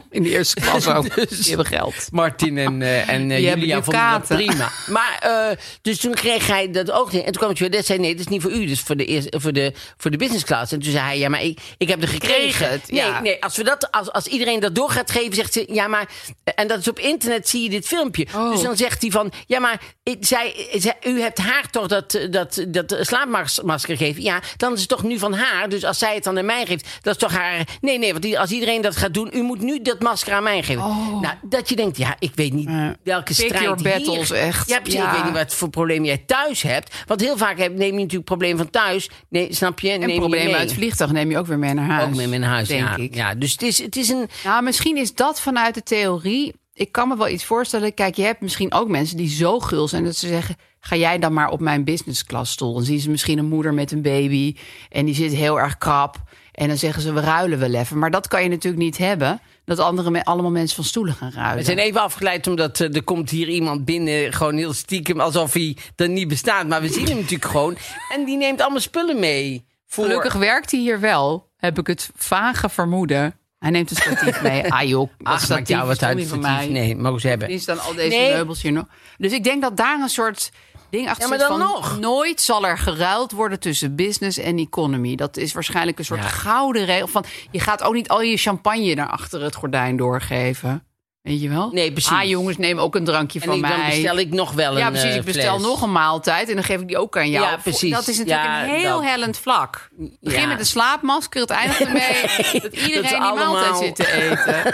Speaker 4: In de eerste klas <laughs> ook.
Speaker 2: Dus-
Speaker 4: Die hebben geld.
Speaker 2: Martin en, eh, en eh,
Speaker 4: Die hebben
Speaker 2: Julia vonden dat
Speaker 4: ducaten.
Speaker 2: prima. <laughs> Maar, eh, dus toen kreeg hij dat ook niet. En toen kwam het stewardess en zei, nee, dat is niet voor u. Dus voor de, eerste, voor de, voor de business class. En toen zei hij, ja, maar ik, ik heb er gekregen.
Speaker 4: Kreeg het,
Speaker 2: nee,
Speaker 4: ja.
Speaker 2: nee, als, we dat, als, als iedereen dat door gaat geven, zegt ze, ja, maar... eh, En dat is op internet, zie je dit filmpje.
Speaker 4: Oh.
Speaker 2: Dus dan zegt hij van, ja, maar ik, zij, zij- u hebt haar toch dat, eh, dat, dat eh, slaapmasker gegeven? Ja, dan is het toch nu van haar. Dus als zij het dan aan mij geeft, dat is toch haar... Nee, nee, want die- als iedereen dat gaat doen, u moet nu dat masker aan mij geven. Nou, dat je denkt, ja, ik weet niet
Speaker 4: Oh. Ja.
Speaker 2: welke
Speaker 4: Pick
Speaker 2: strijd
Speaker 4: your battles,
Speaker 2: hier...
Speaker 4: echt.
Speaker 2: Ja, precies.
Speaker 4: Ja.
Speaker 2: Ik weet niet wat voor probleem jij thuis hebt. Want heel vaak heb, neem je natuurlijk problemen van thuis. Nee, snap je?
Speaker 4: En
Speaker 2: neem je
Speaker 4: problemen
Speaker 2: mee.
Speaker 4: uit het vliegtuig neem je ook weer mee naar huis.
Speaker 2: Ook mee in huis,
Speaker 4: denk
Speaker 2: ja.
Speaker 4: ik.
Speaker 2: Ja, dus het is, het is een...
Speaker 4: Nou, misschien is dat vanuit de theorie. Ik kan me wel iets voorstellen. Kijk, je hebt misschien ook mensen die zo gul zijn dat ze zeggen: ga jij dan maar op mijn business class stoel? Dan zien ze misschien een moeder met een baby en die zit heel erg krap. En dan zeggen ze: we ruilen wel even. Maar dat kan je natuurlijk niet hebben. Dat andere me- allemaal mensen van stoelen gaan
Speaker 2: We
Speaker 4: ruilen.
Speaker 2: zijn even afgeleid omdat eh, er komt hier iemand binnen, gewoon heel stiekem, alsof hij er niet bestaat. Maar we zien hem natuurlijk gewoon. En die neemt allemaal spullen mee. Voor...
Speaker 4: Gelukkig werkt hij hier wel, heb ik het vage vermoeden. Hij neemt een statief <laughs> mee. Ah joh, dat
Speaker 2: Ach, maakt
Speaker 4: statief
Speaker 2: jou
Speaker 4: is
Speaker 2: wat
Speaker 4: toch
Speaker 2: uit.
Speaker 4: niet van
Speaker 2: statief.
Speaker 4: mij.
Speaker 2: Nee, mogen ze hebben.
Speaker 4: Die is dan al deze
Speaker 2: Nee.
Speaker 4: meubels hier nog. Dus ik denk dat daar een soort ding achter
Speaker 2: Ja, maar
Speaker 4: zit
Speaker 2: dan
Speaker 4: van...
Speaker 2: nog.
Speaker 4: nooit zal er geruild worden tussen business en economy. Dat is waarschijnlijk een soort
Speaker 2: Ja.
Speaker 4: gouden regel. Van, je gaat ook niet al je champagne naar achter het gordijn doorgeven. Weet je wel?
Speaker 2: Nee, precies.
Speaker 4: Ah jongens, neem ook een drankje
Speaker 2: En
Speaker 4: van
Speaker 2: ik-
Speaker 4: mij.
Speaker 2: dan bestel ik nog wel een
Speaker 4: ja, precies.
Speaker 2: eh,
Speaker 4: Ik bestel
Speaker 2: fles.
Speaker 4: nog een maaltijd en dan geef ik die ook aan jou.
Speaker 2: Ja, precies.
Speaker 4: Dat is natuurlijk
Speaker 2: Ja,
Speaker 4: een heel
Speaker 2: dat-
Speaker 4: hellend vlak. Begin
Speaker 2: Ja.
Speaker 4: met een slaapmasker, het
Speaker 2: <laughs>
Speaker 4: eindigt ermee dat
Speaker 2: dat
Speaker 4: iedereen
Speaker 2: ze
Speaker 4: die maaltijd
Speaker 2: allemaal-
Speaker 4: zit te eten.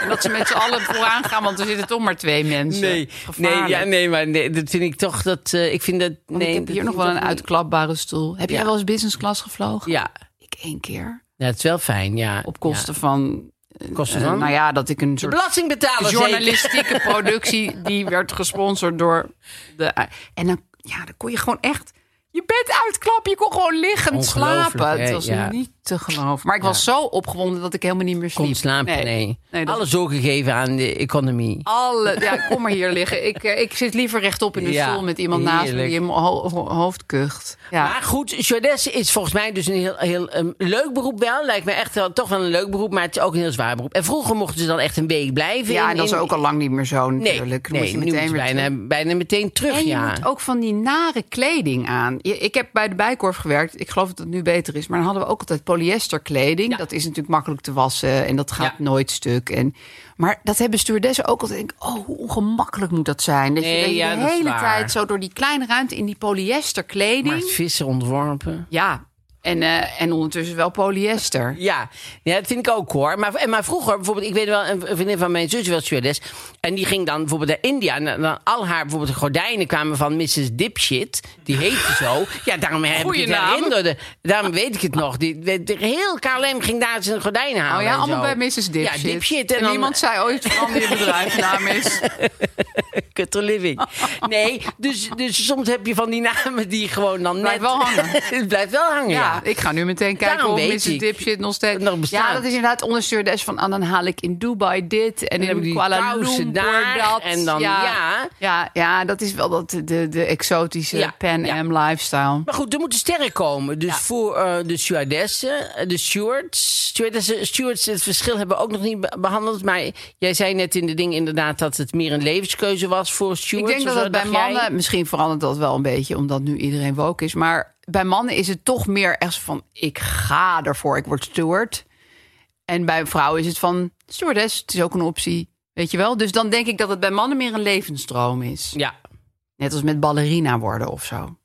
Speaker 2: <laughs>
Speaker 4: En dat ze met z'n allen vooraan gaan, want er zitten toch maar twee mensen.
Speaker 2: Nee, nee,
Speaker 4: Gevaarlijk.
Speaker 2: ja, nee, maar nee, dat vind ik toch dat. eh, ik vind dat.
Speaker 4: Want
Speaker 2: Nee,
Speaker 4: ik heb
Speaker 2: dat
Speaker 4: hier nog
Speaker 2: vind
Speaker 4: wel
Speaker 2: ik
Speaker 4: een
Speaker 2: ook
Speaker 4: uitklapbare stoel. Heb
Speaker 2: Ja.
Speaker 4: jij wel eens business class gevlogen?
Speaker 2: niet. Ja,
Speaker 4: Ik één keer.
Speaker 2: dat is wel fijn, ja.
Speaker 4: Op kosten van
Speaker 2: Kosten
Speaker 4: eh,
Speaker 2: dan?
Speaker 4: nou ja, dat ik een
Speaker 2: De
Speaker 4: soort
Speaker 2: belastingbetaler zeker.
Speaker 4: journalistieke <laughs> productie die werd gesponsord door de. En dan, ja, dan kon je gewoon echt je bed uitklappen. Je kon gewoon liggend
Speaker 2: Ongelooflijk,
Speaker 4: slapen.
Speaker 2: hè?
Speaker 4: Het was
Speaker 2: Ja.
Speaker 4: niet te geloven. Maar ik was zo opgewonden dat ik helemaal niet meer sliep.
Speaker 2: Kon slapen, nee.
Speaker 4: dat-
Speaker 2: Alles doorgegeven aan de economie.
Speaker 4: alle, ja, kom maar hier liggen. Ik, eh, ik zit liever rechtop in de
Speaker 2: Ja,
Speaker 4: stoel met iemand naast me
Speaker 2: heerlijk.
Speaker 4: die in mijn ho- ho- hoofd kucht. Ja.
Speaker 2: Maar goed, Jordesse is volgens mij dus een heel, heel ehm, leuk beroep wel. Lijkt me echt wel, toch wel een leuk beroep, maar het is ook een heel zwaar beroep. En vroeger mochten ze dan echt een week blijven.
Speaker 4: ja,
Speaker 2: in-
Speaker 4: en dat is
Speaker 2: in-
Speaker 4: ook al lang niet meer zo
Speaker 2: Nee,
Speaker 4: natuurlijk. Dan
Speaker 2: nee
Speaker 4: moet je
Speaker 2: nu
Speaker 4: meteen
Speaker 2: moet je
Speaker 4: weer terug.
Speaker 2: bijna, bijna meteen terug,
Speaker 4: En je
Speaker 2: ja.
Speaker 4: moet ook van die nare kleding aan. Je- Ik heb bij de Bijkorf gewerkt. Ik geloof dat het nu beter is. Maar dan hadden we ook altijd polyesterkleding. Dat is natuurlijk makkelijk te wassen en dat gaat
Speaker 2: Ja.
Speaker 4: nooit stuk. En, maar dat hebben stewardessen ook altijd. Ik Denk, oh, hoe ongemakkelijk moet dat zijn? Dat je,
Speaker 2: Nee,
Speaker 4: dat je
Speaker 2: ja,
Speaker 4: de
Speaker 2: dat is
Speaker 4: hele
Speaker 2: waar.
Speaker 4: tijd zo door die kleine ruimte in die polyesterkleding.
Speaker 2: Maar het vissen ontworpen.
Speaker 4: Ja, en, eh, en ondertussen wel polyester.
Speaker 2: Ja. ja, dat vind ik ook hoor. Maar, en maar vroeger, bijvoorbeeld, ik weet wel, een vriendin van mijn zusje was stewardess. En die ging dan bijvoorbeeld naar India. En dan- dan al haar bijvoorbeeld gordijnen kwamen van Mrs. Dipshit. Die heette zo. Ja, daarom heb
Speaker 4: Goeie
Speaker 2: ik het
Speaker 4: naam.
Speaker 2: herinnerde. Daarom weet ik het nog. Die, de- de- heel KLM ging daar zijn gordijnen halen.
Speaker 4: Oh ja,
Speaker 2: en
Speaker 4: allemaal
Speaker 2: zo.
Speaker 4: bij Mrs. Dipshit.
Speaker 2: Ja, Dipshit.
Speaker 4: En,
Speaker 2: En, dan-
Speaker 4: iemand zei ooit van die bedrijfsnaam
Speaker 2: <laughs>
Speaker 4: is.
Speaker 2: Cutter
Speaker 4: <laughs>
Speaker 2: Living. Nee, dus, dus soms heb je van die namen die gewoon dan
Speaker 4: Blijft
Speaker 2: net...
Speaker 4: wel hangen.
Speaker 2: <laughs> het blijft wel hangen, ja.
Speaker 4: Ja, ik ga nu meteen kijken
Speaker 2: Daarom
Speaker 4: of
Speaker 2: weet
Speaker 4: Mrs.
Speaker 2: ik
Speaker 4: Dipshit nog steeds...
Speaker 2: dat het nog bestaat.
Speaker 4: Ja, dat is inderdaad onderstuur des van... ah, dan haal ik in Dubai dit en,
Speaker 2: dan heb ik
Speaker 4: in
Speaker 2: die
Speaker 4: Kuala
Speaker 2: kousen
Speaker 4: Lumpur
Speaker 2: daar
Speaker 4: dat.
Speaker 2: en dan- ja.
Speaker 4: ja. ja. ja, dat is wel dat, de, de exotische
Speaker 2: Ja,
Speaker 4: Pan
Speaker 2: ja.
Speaker 4: Am lifestyle.
Speaker 2: Maar goed, er moeten sterren komen. Dus voor eh, de stewardessen, eh, de stewards. Stewardessen, stewards, het verschil hebben we ook nog niet be- behandeld. Maar jij zei net in de ding inderdaad dat het meer een levenskeuze was voor
Speaker 4: Ik
Speaker 2: stewards.
Speaker 4: denk dat
Speaker 2: of zo,
Speaker 4: dat bij
Speaker 2: dacht jij?
Speaker 4: mannen, misschien verandert dat wel een beetje, omdat nu iedereen woke is. Maar bij mannen is het toch meer echt van: ik ga ervoor, ik word steward. En bij vrouwen is het van: stewardess, het is ook een optie. Weet je wel? Dus dan denk ik dat het bij mannen meer een levensstroom is.
Speaker 2: Ja, <laughs>
Speaker 4: Net als met ballerina worden of zo.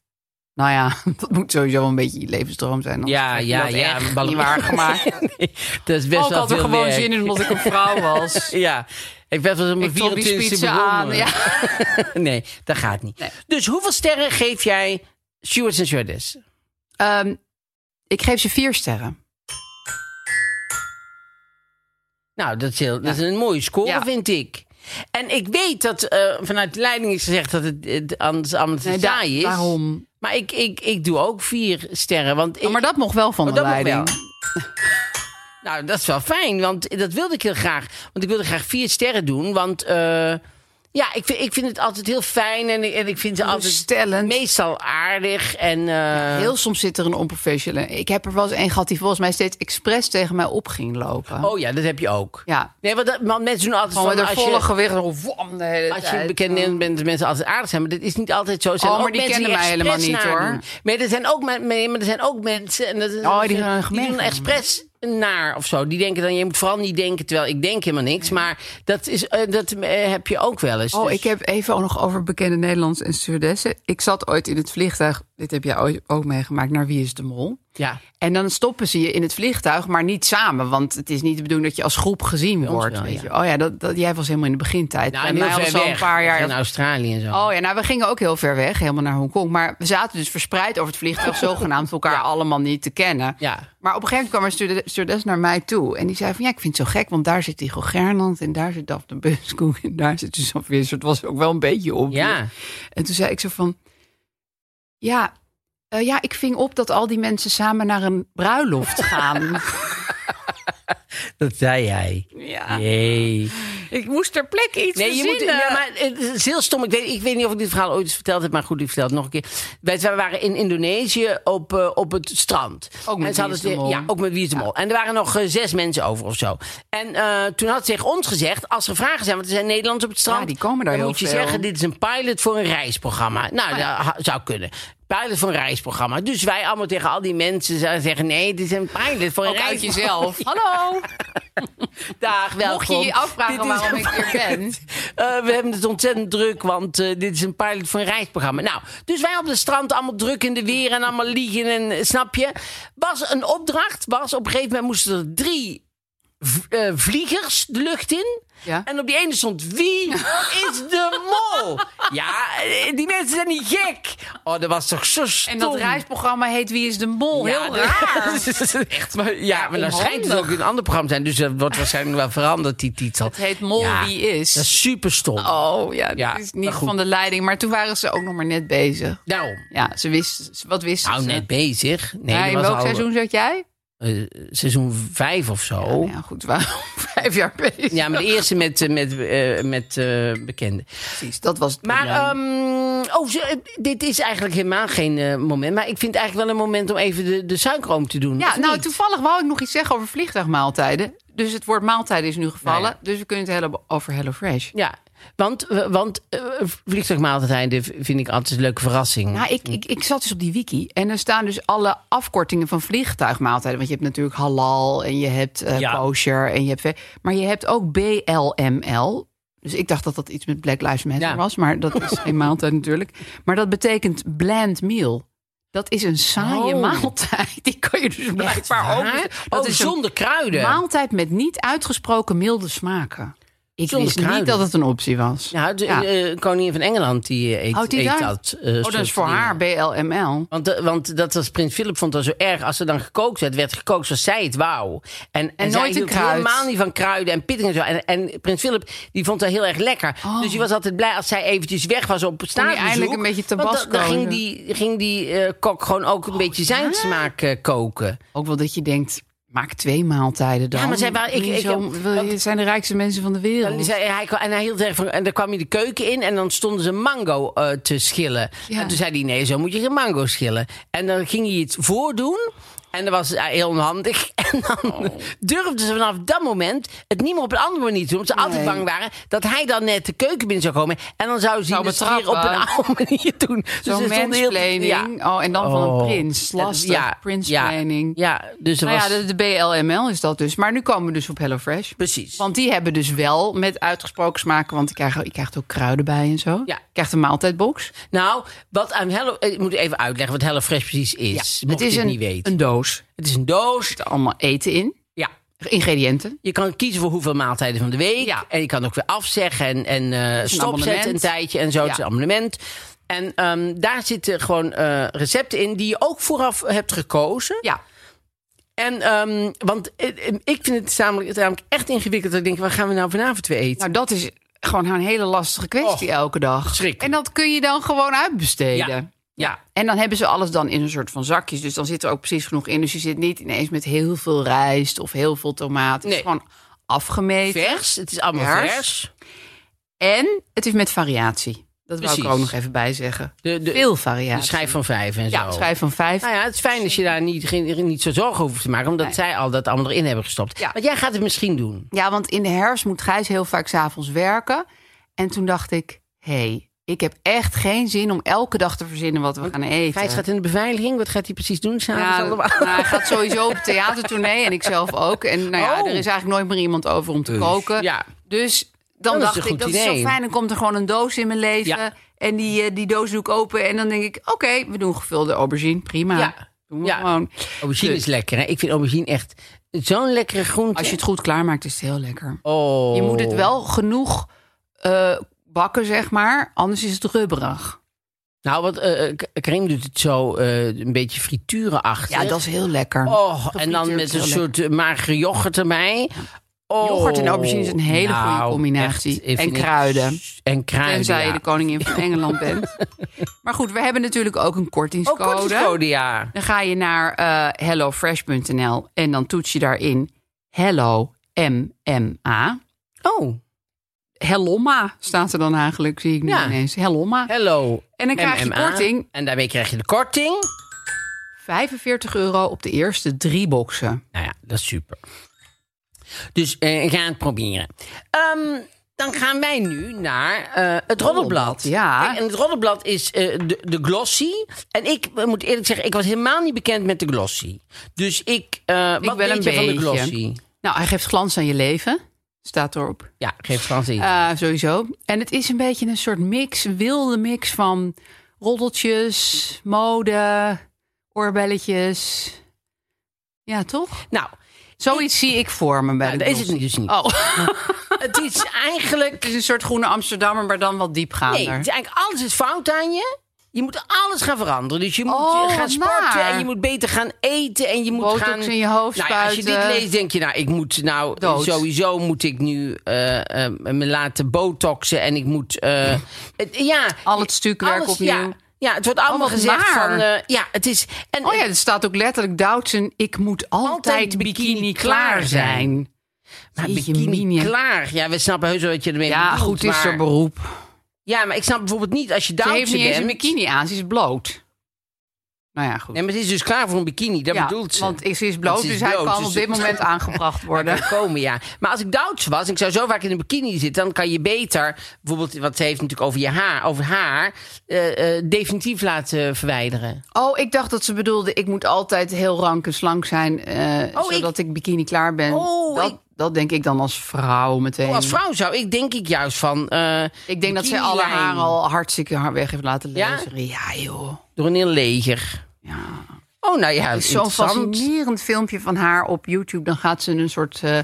Speaker 4: Nou ja, <laughs> dat moet sowieso wel een beetje je levensstroom zijn. anders
Speaker 2: Ja,
Speaker 4: krijg je
Speaker 2: ja,
Speaker 4: dat
Speaker 2: ja,
Speaker 4: echt
Speaker 2: ballerina. <laughs>
Speaker 4: Niet waargemaakt.
Speaker 2: Nee, dat is best
Speaker 4: Ook
Speaker 2: wel
Speaker 4: had er
Speaker 2: veel
Speaker 4: gewoon
Speaker 2: werk.
Speaker 4: zin in omdat ik een
Speaker 2: <laughs>
Speaker 4: vrouw was.
Speaker 2: Ja, ik ben wel mijn
Speaker 4: Ik trok die
Speaker 2: 24
Speaker 4: spitsen aan. Ja.
Speaker 2: nee, dat gaat niet. Dus hoeveel sterren geef jij stewards en stewardessen?
Speaker 4: Ehm, ik geef ze vier sterren.
Speaker 2: Nou, dat is, heel, dat is een mooie score,
Speaker 4: Ja.
Speaker 2: vind ik. En ik weet dat eh, vanuit de leiding is gezegd dat het, het anders allemaal te
Speaker 4: Nee, da-
Speaker 2: saai is.
Speaker 4: daarom.
Speaker 2: Maar ik, ik, ik doe ook vier sterren. Want ik,
Speaker 4: Oh, maar dat mocht wel van
Speaker 2: Oh,
Speaker 4: de
Speaker 2: dat mocht
Speaker 4: leiding.
Speaker 2: wel. Nou, dat is wel fijn, want dat wilde ik heel graag. Want ik wilde graag vier sterren doen, want... eh, ja, ik vind, ik vind het altijd heel fijn en ik, en ik vind ze altijd
Speaker 4: Stellend.
Speaker 2: meestal aardig. En, eh,
Speaker 4: Heel soms zit er een onprofessional. Ik heb er wel eens een gehad die volgens mij steeds expres tegen mij op ging lopen.
Speaker 2: Oh ja, dat heb je ook.
Speaker 4: Ja,
Speaker 2: Nee, want, dat, want mensen doen altijd
Speaker 4: gewoon met
Speaker 2: van...
Speaker 4: een
Speaker 2: Als
Speaker 4: volle
Speaker 2: je,
Speaker 4: gewicht. en wam de hele
Speaker 2: als je
Speaker 4: tijd.
Speaker 2: bekend bent, bent de mensen altijd aardig zijn. Maar dat is niet altijd zo. Er zijn
Speaker 4: Oh, maar
Speaker 2: ook
Speaker 4: die
Speaker 2: mensen
Speaker 4: kennen mij helemaal
Speaker 2: expres
Speaker 4: niet,
Speaker 2: naar
Speaker 4: hoor.
Speaker 2: doen. Maar er zijn ook, men- nee, maar er zijn ook mensen... En dat, is-
Speaker 4: Oh, die gaan
Speaker 2: die
Speaker 4: gemerkt
Speaker 2: doen
Speaker 4: worden.
Speaker 2: expres naar of zo. Die denken dan, je moet vooral niet denken... terwijl ik denk helemaal niks. Maar dat, is, eh, dat eh, heb je ook wel eens.
Speaker 4: Oh,
Speaker 2: Dus-
Speaker 4: ik heb even ook nog over bekende Nederlands en stewardessen. Ik zat ooit in het vliegtuig. Dit heb jij ooit ook meegemaakt. Naar Wie is de Mol?
Speaker 2: Ja,
Speaker 4: En dan stoppen ze je in het vliegtuig, maar niet samen. Want het is niet de bedoeling dat je als groep gezien
Speaker 2: ons
Speaker 4: wordt.
Speaker 2: wel, ja.
Speaker 4: weet je. Oh ja, dat, dat, jij was helemaal in de begintijd.
Speaker 2: nou,
Speaker 4: Bij
Speaker 2: en heel
Speaker 4: mij
Speaker 2: ver
Speaker 4: was al
Speaker 2: weg.
Speaker 4: een paar jaar
Speaker 2: In Australië en zo.
Speaker 4: Oh ja, nou we gingen ook heel ver weg, helemaal naar Hongkong. Maar we zaten dus verspreid over het
Speaker 2: <laughs>
Speaker 4: vliegtuig, zogenaamd elkaar allemaal niet te kennen.
Speaker 2: Ja.
Speaker 4: Maar op een gegeven moment kwam een stuurde- stewardess naar mij toe. En die zei van, ja, ik vind het zo gek, want daar zit Hugo Gernand... en daar zit Daphne Buskoek en daar zit Suzanne Visser. Het was ook wel een beetje op.
Speaker 2: Ja.
Speaker 4: En toen zei ik zo van, ja, eh, ja, ik ving op dat al die mensen samen naar een
Speaker 2: <laughs>
Speaker 4: bruiloft gaan.
Speaker 2: Dat zei jij.
Speaker 4: ja.
Speaker 2: Jee.
Speaker 4: Ik moest ter plekke iets
Speaker 2: Nee, je moet,
Speaker 4: verzinnen.
Speaker 2: ja, maar het is heel stom. Ik weet, ik weet niet of ik dit verhaal ooit eens verteld heb, maar goed, ik vertel het nog een keer. Wij, wij waren in Indonesië op, eh, op het strand.
Speaker 4: Ook met
Speaker 2: En ze
Speaker 4: Wie is de
Speaker 2: hadden-
Speaker 4: Mol.
Speaker 2: Ja, ook met Wie is de Mol. En er waren nog eh, zes mensen over of zo. En eh, toen had ze tegen ons gezegd, als er vragen zijn, want er zijn Nederlanders op het strand.
Speaker 4: Ja, die komen daar
Speaker 2: dan
Speaker 4: heel
Speaker 2: moet je
Speaker 4: veel. Oh,
Speaker 2: zeggen, dit is een pilot voor een reisprogramma. Nou, dat ha- zou kunnen. Pilot voor een reisprogramma. Dus wij allemaal tegen al die mensen zouden zeggen, nee, dit is een pilot voor een
Speaker 4: Ook uit
Speaker 2: reisprogramma.
Speaker 4: jezelf.
Speaker 2: <laughs>
Speaker 4: Hallo.
Speaker 2: Dag, welkom.
Speaker 4: Mocht je je afvragen
Speaker 2: Dit is
Speaker 4: waarom
Speaker 2: een
Speaker 4: ik
Speaker 2: pilot.
Speaker 4: hier ben.
Speaker 2: Eh, we hebben het ontzettend druk, want eh, dit is een pilot voor een reisprogramma. Nou, dus wij op het strand, allemaal druk in de weer en allemaal liegen en eh, snap je. Was een opdracht, was op een gegeven moment moesten er drie v- eh, vliegers de lucht in.
Speaker 4: Ja.
Speaker 2: En op die ene stond, wie is de mol? Ja, eh, die mensen zijn niet gek. Oh, dat was toch zo stom.
Speaker 4: En dat reisprogramma heet Wie is de Mol? Heel
Speaker 2: dat-
Speaker 4: raar.
Speaker 2: dat is <laughs> Echt, maar, ja, maar dan
Speaker 4: onhandig.
Speaker 2: schijnt het ook in een ander programma te zijn. Dus dat wordt waarschijnlijk wel veranderd, die titel.
Speaker 4: Het heet Mol
Speaker 2: Ja,
Speaker 4: Wie Is.
Speaker 2: Dat is super stom.
Speaker 4: Oh ja,
Speaker 2: Ja,
Speaker 4: dat is niet
Speaker 2: maar goed.
Speaker 4: van de leiding. Maar toen waren ze ook nog maar net bezig.
Speaker 2: Daarom.
Speaker 4: Ja, ze wisten. ze- Wat wisten
Speaker 2: Nou,
Speaker 4: ze?
Speaker 2: net bezig. Nee,
Speaker 4: ja,
Speaker 2: dat
Speaker 4: in
Speaker 2: was
Speaker 4: welk
Speaker 2: al,
Speaker 4: seizoen zat jij?
Speaker 2: eh, seizoen vijf of zo.
Speaker 4: Nou ja, goed, we waren <laughs> al vijf jaar bezig.
Speaker 2: Oh. Ja, maar de eerste met, eh, met, eh, met eh, bekenden.
Speaker 4: precies. Dat was het
Speaker 2: Maar,
Speaker 4: probleem.
Speaker 2: ehm, oh, ze- eh, dit is eigenlijk helemaal geen eh, moment. Maar ik vind het eigenlijk wel een moment om even de, de suikeroom te doen.
Speaker 4: Ja,
Speaker 2: of
Speaker 4: nou,
Speaker 2: niet?
Speaker 4: toevallig wou ik nog iets zeggen over vliegtuigmaaltijden. Dus het woord maaltijden is nu gevallen.
Speaker 2: Nou
Speaker 4: Dus we kunnen het hebben over HelloFresh.
Speaker 2: Ja, want, eh, want eh, vliegtuigmaaltijden vind ik altijd een leuke verrassing.
Speaker 4: Nou, ik, ik, ik zat dus op die wiki en er staan dus alle afkortingen van vliegtuigmaaltijden. Want je hebt natuurlijk halal en je hebt eh,
Speaker 2: Ja.
Speaker 4: kosher en je hebt... ve- Maar je hebt ook BLML. Dus ik dacht dat dat iets met Black Lives Matter
Speaker 2: Ja.
Speaker 4: was, maar dat is
Speaker 2: <laughs>
Speaker 4: geen maaltijd natuurlijk. Maar dat betekent bland meal. Dat is een saaie
Speaker 2: Oh.
Speaker 4: maaltijd. Die kan je dus blijkbaar ook...
Speaker 2: Waar?
Speaker 4: Dat
Speaker 2: oh,
Speaker 4: is een
Speaker 2: zonder kruiden.
Speaker 4: Maaltijd met niet uitgesproken milde smaken. Ik
Speaker 2: Zonder
Speaker 4: wist
Speaker 2: kruiden.
Speaker 4: niet dat het een optie was.
Speaker 2: Ja, de
Speaker 4: Ja.
Speaker 2: eh, koningin van Engeland die eh, eet,
Speaker 4: Houdt die
Speaker 2: eet
Speaker 4: daar?
Speaker 2: dat. eh,
Speaker 4: oh,
Speaker 2: soort
Speaker 4: dat is voor
Speaker 2: dingen.
Speaker 4: haar BLML.
Speaker 2: Want, eh, want dat was Prins Philip vond dat zo erg. Als er dan gekookt werd, werd gekookt zoals zij het wou. En, en,
Speaker 4: nooit
Speaker 2: zij
Speaker 4: een
Speaker 2: hield
Speaker 4: kruid.
Speaker 2: helemaal niet van kruiden en pittig en zo. En, en Prins Philip die vond dat heel erg lekker. Dus die was altijd blij als zij eventjes weg was op staatsbezoek.
Speaker 4: Oh. eindelijk een beetje
Speaker 2: Want dan- Dan
Speaker 4: tabasco. Oh,
Speaker 2: ging die, ging die eh, kok gewoon ook een beetje zijn smaak eh, koken.
Speaker 4: Ook wel dat je denkt, maak twee maaltijden dan.
Speaker 2: Ja, maar zij waren- ik-
Speaker 4: Wil je
Speaker 2: ik-
Speaker 4: zo- wil je- zijn de rijkste mensen van de
Speaker 2: En,
Speaker 4: wereld.
Speaker 2: zei hij, en hij hield erg van. En dan kwam hij de keuken in en dan stonden ze mango eh, te schillen.
Speaker 4: Ja.
Speaker 2: En toen zei hij: Nee, zo moet je geen mango schillen. En dan ging hij iets voordoen. En dat was eh, heel onhandig. <laughs> En dan
Speaker 4: Oh.
Speaker 2: durfden ze vanaf dat moment het niet meer op een andere manier te doen. Omdat ze altijd
Speaker 4: Nee.
Speaker 2: bang waren dat hij dan net de keuken binnen zou komen. En dan zou ze
Speaker 4: Zou
Speaker 2: het weer op
Speaker 4: betrappen.
Speaker 2: <laughs> een oude manier doen. Dus
Speaker 4: Zo'n
Speaker 2: ze stonden heel-
Speaker 4: mansplaining.
Speaker 2: ja.
Speaker 4: Oh, en dan van
Speaker 2: Oh.
Speaker 4: een prins. Lastig.
Speaker 2: Ja,
Speaker 4: prinsplanning.
Speaker 2: Ja, ja, dus er
Speaker 4: Nou
Speaker 2: was...
Speaker 4: ja, de, de BLML is dat dus. Maar nu komen we dus op HelloFresh.
Speaker 2: Precies.
Speaker 4: Want die hebben dus wel met uitgesproken smaken. Want je krijgt, je krijgt ook kruiden bij en zo.
Speaker 2: Ja.
Speaker 4: Je krijgt een maaltijdbox.
Speaker 2: Nou, wat aan Hello... Ik moet even uitleggen wat HelloFresh precies is. mocht
Speaker 4: het is
Speaker 2: je
Speaker 4: een,
Speaker 2: het niet weten.
Speaker 4: een doos.
Speaker 2: Het is een doos.
Speaker 4: Er allemaal eten in.
Speaker 2: Ja.
Speaker 4: Ingrediënten.
Speaker 2: Je kan kiezen voor hoeveel maaltijden van de week.
Speaker 4: Ja.
Speaker 2: En je kan ook weer afzeggen en, en eh stopzetten een
Speaker 4: abonnement.
Speaker 2: tijdje en zo. Het is
Speaker 4: Ja.
Speaker 2: een abonnement. En ehm, daar zitten gewoon eh, recepten in die je ook vooraf hebt gekozen.
Speaker 4: Ja.
Speaker 2: En, ehm, want eh, eh, ik vind het namelijk, namelijk echt ingewikkeld. Dat ik denk, waar gaan we nou vanavond weer eten?
Speaker 4: Nou, dat is gewoon een hele lastige kwestie
Speaker 2: Och,
Speaker 4: elke dag.
Speaker 2: schrikkelijk.
Speaker 4: En dat kun je dan gewoon uitbesteden.
Speaker 2: Ja, ja.
Speaker 4: En dan hebben ze alles dan in een soort van zakjes. Dus dan zit er ook precies genoeg in. Dus je zit niet ineens met heel veel rijst of heel veel tomaat. Het
Speaker 2: Nee.
Speaker 4: is gewoon afgemeten.
Speaker 2: vers. Het is allemaal vers.
Speaker 4: Vers. En het is met variatie. Dat wil ik
Speaker 2: Precies.
Speaker 4: er ook nog even bij zeggen.
Speaker 2: De, de,
Speaker 4: Veel
Speaker 2: de
Speaker 4: variatie.
Speaker 2: schijf van vijf en
Speaker 4: ja,
Speaker 2: zo.
Speaker 4: schijf van vijf.
Speaker 2: Nou ja, het is fijn als je daar niet, geen- niet zo zorgen over hoeft te maken. Omdat
Speaker 4: Nee.
Speaker 2: zij al dat allemaal erin hebben gestopt.
Speaker 4: Ja.
Speaker 2: Want jij gaat het misschien doen.
Speaker 4: Ja, want in de herfst moet Gijs heel vaak s'avonds werken. En toen dacht ik, hé, hey, ik heb echt geen zin om elke dag te verzinnen wat we gaan eten.
Speaker 2: Gijs gaat in de beveiliging. Wat gaat hij precies doen? S'avonds
Speaker 4: Ja,
Speaker 2: allemaal.
Speaker 4: nou, hij gaat sowieso op theatertournee en ik zelf ook. En nou ja,
Speaker 2: Oh.
Speaker 4: er is eigenlijk nooit meer iemand over om te
Speaker 3: Dus,
Speaker 4: koken.
Speaker 2: ja.
Speaker 4: Dus dan
Speaker 2: Oh, Dat is
Speaker 4: dacht
Speaker 2: een
Speaker 4: ik,
Speaker 2: goed
Speaker 4: dat is
Speaker 2: idee.
Speaker 4: zo fijn. Dan komt er gewoon een doos in mijn leven.
Speaker 2: Ja.
Speaker 4: En die, eh, die doos doe ik open. En dan denk ik, oké, we doen gevulde aubergine. Prima.
Speaker 2: Ja.
Speaker 4: Doen we
Speaker 2: Ja.
Speaker 4: gewoon.
Speaker 2: Aubergine
Speaker 4: Dus-
Speaker 2: is lekker, hè? Ik vind aubergine echt zo'n lekkere groente.
Speaker 4: Als je het goed klaarmaakt, is het heel lekker.
Speaker 2: oh.
Speaker 4: Je moet het wel genoeg eh, bakken, zeg maar. Anders is het rubberig.
Speaker 2: Nou, want eh, eh, K- Karim doet het zo eh, een beetje frituren achter.
Speaker 4: Ja, dat is heel lekker.
Speaker 2: Oh, en dan met een
Speaker 4: Gefrituurd,
Speaker 2: soort eh, magere yoghurt erbij. Oh.
Speaker 4: Yoghurt en aubergine is een hele goede combinatie.
Speaker 2: echt, eh,
Speaker 4: En
Speaker 2: vind ik-
Speaker 4: kruiden.
Speaker 2: En kruiden,
Speaker 4: Tenzij
Speaker 2: Nou, ja.
Speaker 4: je de koningin van Engeland
Speaker 2: <laughs>
Speaker 4: bent. Maar goed, we hebben natuurlijk ook een
Speaker 2: Oh,
Speaker 4: kortingscode.
Speaker 2: kortingscode, ja.
Speaker 4: Dan ga je naar eh, hellofresh.nl en dan toets je daarin hello MMA.
Speaker 2: Oh,
Speaker 4: Helloma staat er dan eigenlijk, zie ik nu
Speaker 2: Ja.
Speaker 4: ineens. Helloma.
Speaker 2: hello.
Speaker 4: En dan krijg je
Speaker 2: MMA.
Speaker 4: korting.
Speaker 2: En daarmee krijg je de korting.
Speaker 4: 45 euro op de eerste drie boxen.
Speaker 2: Nou ja, dat is super. Dus eh, ga het proberen. Ehm, dan gaan wij nu naar eh, het Roddelblad.
Speaker 4: Oh, ja.
Speaker 2: Kijk, en het Roddelblad is eh, de, de Glossy. En ik eh, moet eerlijk zeggen, ik was helemaal niet bekend met de Glossy. Dus ik, eh wat
Speaker 4: wel
Speaker 2: weet
Speaker 4: een
Speaker 2: je van de
Speaker 4: beetje.
Speaker 2: Glossy?
Speaker 4: Nou, hij geeft glans aan je leven, staat erop.
Speaker 2: Ja, geef Frans in.
Speaker 4: Eh, sowieso. En het is een beetje een soort mix, een wilde mix van roddeltjes, mode, oorbelletjes. Ja, toch?
Speaker 2: nou,
Speaker 4: Zoiets zie ik voor me bij
Speaker 2: Nou,
Speaker 4: de
Speaker 2: dat is
Speaker 4: Beatles.
Speaker 2: het dus niet.
Speaker 4: Oh,
Speaker 2: Het
Speaker 4: <laughs>
Speaker 2: is eigenlijk...
Speaker 4: het is een soort groene Amsterdammer, maar dan wat diepgaander.
Speaker 2: Nee, het is eigenlijk alles is fout aan je. Je moet alles gaan veranderen. Dus je moet
Speaker 4: Oh,
Speaker 2: eh, gaan
Speaker 4: wat
Speaker 2: sporten
Speaker 4: naar.
Speaker 2: en je moet beter gaan eten en je moet
Speaker 4: Botox
Speaker 2: gaan
Speaker 4: in je hoofd
Speaker 2: Nou, ja, als je dit
Speaker 4: spuiten.
Speaker 2: leest, denk je, nou, ik moet nou
Speaker 4: Dood.
Speaker 2: sowieso moet ik nu eh, eh, me laten botoxen en ik moet eh,
Speaker 4: <laughs>
Speaker 2: het- ja
Speaker 4: Al het stukwerk
Speaker 2: alles,
Speaker 4: opnieuw.
Speaker 2: Ja, ja, het wordt allemaal
Speaker 4: Oh, wat
Speaker 2: gezegd
Speaker 4: naar.
Speaker 2: van eh, ja, het is en eh,
Speaker 4: Oh ja, er staat ook letterlijk Doutzen. Ik moet altijd,
Speaker 2: Altijd
Speaker 4: bikini,
Speaker 2: bikini
Speaker 4: klaar
Speaker 2: klaar
Speaker 4: zijn.
Speaker 2: maar
Speaker 4: Jeetje,
Speaker 2: nou, bikini
Speaker 4: minie.
Speaker 2: klaar. Ja, we snappen heus wel wat je ermee
Speaker 4: Ja,
Speaker 2: bedoelt,
Speaker 4: goed is
Speaker 2: maar-
Speaker 4: er beroep.
Speaker 2: Ja, maar ik snap bijvoorbeeld niet als je
Speaker 4: Ze
Speaker 2: daar
Speaker 4: heeft niet eens een
Speaker 2: bent.
Speaker 4: bikini aan, ze is bloot. Nou ja, goed.
Speaker 2: Nee, maar ze is dus klaar voor een bikini. Dat
Speaker 4: Ja,
Speaker 2: bedoelt ze.
Speaker 4: Want ze is bloot,
Speaker 2: Want ze
Speaker 4: dus
Speaker 2: is
Speaker 4: hij
Speaker 2: bloot,
Speaker 4: kan
Speaker 2: dus <laughs>
Speaker 4: op dit
Speaker 2: ze-
Speaker 4: moment aangebracht worden.
Speaker 2: kan komen, ja. Maar als ik Duits was, en ik zou zo vaak in een bikini zitten, dan kan je beter, bijvoorbeeld, wat ze heeft natuurlijk over je haar, over haar, eh, eh, definitief laten verwijderen.
Speaker 4: Oh, ik dacht dat ze bedoelde, ik moet altijd heel rank en slank zijn, eh,
Speaker 2: Oh, ik-
Speaker 4: zodat ik... bikini klaar ben.
Speaker 2: Oh,
Speaker 4: dat,
Speaker 2: ik- Oh,
Speaker 4: dat denk ik dan als vrouw meteen.
Speaker 2: Als vrouw zou ik, denk ik juist van. eh,
Speaker 4: ik denk dat ze alle
Speaker 2: bikinilijn
Speaker 4: haar al hartstikke hard weg heeft laten
Speaker 2: Ja?
Speaker 4: lezen. Ja, joh.
Speaker 2: Door een heel leger.
Speaker 4: Ja.
Speaker 2: Oh, nou ja,
Speaker 4: Er is Zo'n
Speaker 2: interessant.
Speaker 4: fascinerend filmpje van haar op YouTube. Dan gaat ze een soort eh,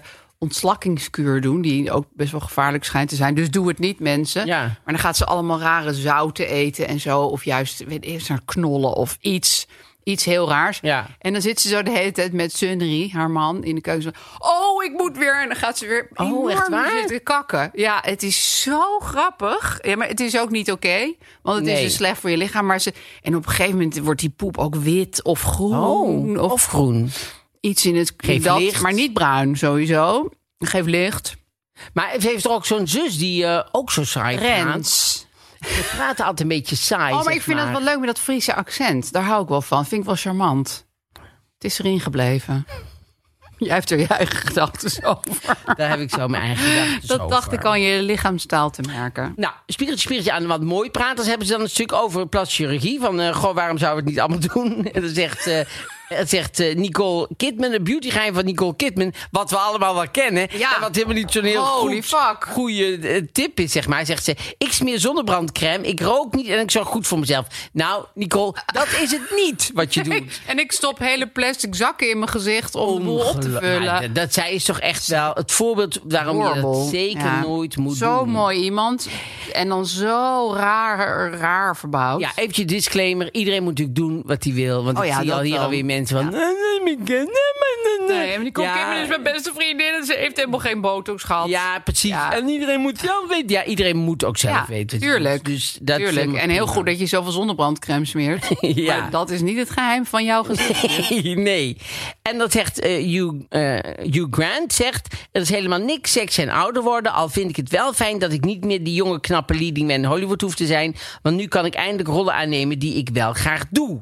Speaker 4: ontslakkingskuur doen, die ook best wel gevaarlijk schijnt te zijn. Dus doe het niet, mensen.
Speaker 2: Ja.
Speaker 4: Maar dan gaat ze allemaal rare zouten eten en zo. Of juist, weet ik, naar knollen of iets. Iets heel raars.
Speaker 2: Ja.
Speaker 4: En dan zit ze zo de hele tijd met Sunri, haar man, in de keuken. zo, Oh, ik moet weer. En dan gaat ze weer
Speaker 2: Oh,
Speaker 4: enorm
Speaker 2: echt waar?
Speaker 4: zitten kakken. Ja, het is zo grappig. Ja, maar het is ook niet oké. want het is
Speaker 2: Nee.
Speaker 4: dus slecht voor je lichaam. Maar ze, en op een gegeven moment wordt die poep ook wit of groen.
Speaker 2: Oh,
Speaker 4: of,
Speaker 2: of groen.
Speaker 4: iets in het
Speaker 2: Geeft
Speaker 4: dat,
Speaker 2: licht.
Speaker 4: Maar niet bruin, sowieso. Geef licht.
Speaker 2: Maar ze heeft er ook zo'n zus die eh, ook zo saai praat.
Speaker 4: Rens.
Speaker 2: Ze praat altijd een beetje saai.
Speaker 4: Oh, maar
Speaker 2: zeg
Speaker 4: ik vind
Speaker 2: maar.
Speaker 4: dat wel leuk met dat Friese accent. Daar hou ik wel van. Vind ik wel charmant. Het is erin gebleven. <laughs> Jij hebt er je eigen gedachten <laughs> over.
Speaker 2: Daar heb ik zo mijn eigen gedachten
Speaker 4: Dat dacht
Speaker 2: over.
Speaker 4: ik aan je lichaamstaal te merken.
Speaker 2: Nou, spiegeltje, spiegeltje aan wat mooi praters hebben ze dan een stuk over plastische chirurgie. Van, eh, goh, waarom zouden we het niet allemaal <laughs> doen? En dan zegt, eh, het zegt eh, Nicole Kidman, een beautygeheim van Nicole Kidman, wat we allemaal wel kennen.
Speaker 4: Ja.
Speaker 2: En wat helemaal niet zo'n heel
Speaker 4: Holy
Speaker 2: goed,
Speaker 4: fuck.
Speaker 2: goede eh, tip is, zeg maar. Zegt ze, ik smeer zonnebrandcrème, ik rook niet en ik zorg goed voor mezelf. Nou, Nicole, dat is het niet wat
Speaker 4: <laughs>
Speaker 2: je doet.
Speaker 4: En ik stop hele plastic zakken in mijn gezicht om de boel op te
Speaker 2: Ongelo- Maar
Speaker 4: vullen.
Speaker 2: dat, dat- zij is toch echt wel het voorbeeld waarom je
Speaker 4: Horrible.
Speaker 2: dat zeker
Speaker 4: Ja.
Speaker 2: nooit moet
Speaker 4: zo
Speaker 2: doen.
Speaker 4: mooi iemand. En dan zo raar, raar verbouwd.
Speaker 2: Ja, eventjes disclaimer. Iedereen moet natuurlijk doen wat hij wil. Want
Speaker 4: Oh
Speaker 2: ik
Speaker 4: ja,
Speaker 2: zie
Speaker 4: dat
Speaker 2: al hier
Speaker 4: wel.
Speaker 2: alweer mensen van... Nee, nee, nee, nee, nee, nee.
Speaker 4: Nee, maar Nicole
Speaker 2: Ja.
Speaker 4: Kidman is mijn beste vriendin en ze heeft helemaal geen botox gehad.
Speaker 2: Ja, precies.
Speaker 4: Ja.
Speaker 2: En iedereen moet zelf weten. Ja, iedereen moet ook zelf
Speaker 4: Ja,
Speaker 2: weten.
Speaker 4: tuurlijk.
Speaker 2: Dus dat is
Speaker 4: Tuurlijk.
Speaker 2: helemaal
Speaker 4: En heel
Speaker 2: prima.
Speaker 4: goed dat je zoveel zonnebrandcrème smeert.
Speaker 2: <laughs> Ja.
Speaker 4: Maar dat is niet het geheim van jouw gezicht.
Speaker 2: <laughs> <laughs> nee. En dat zegt eh Hugh, eh, Hugh Grant, zegt... Er is helemaal niks seks en ouder worden. Al vind ik het wel fijn dat ik niet meer die jonge knappe leading man in Hollywood hoef te zijn. Want nu kan ik eindelijk rollen aannemen die ik wel graag doe.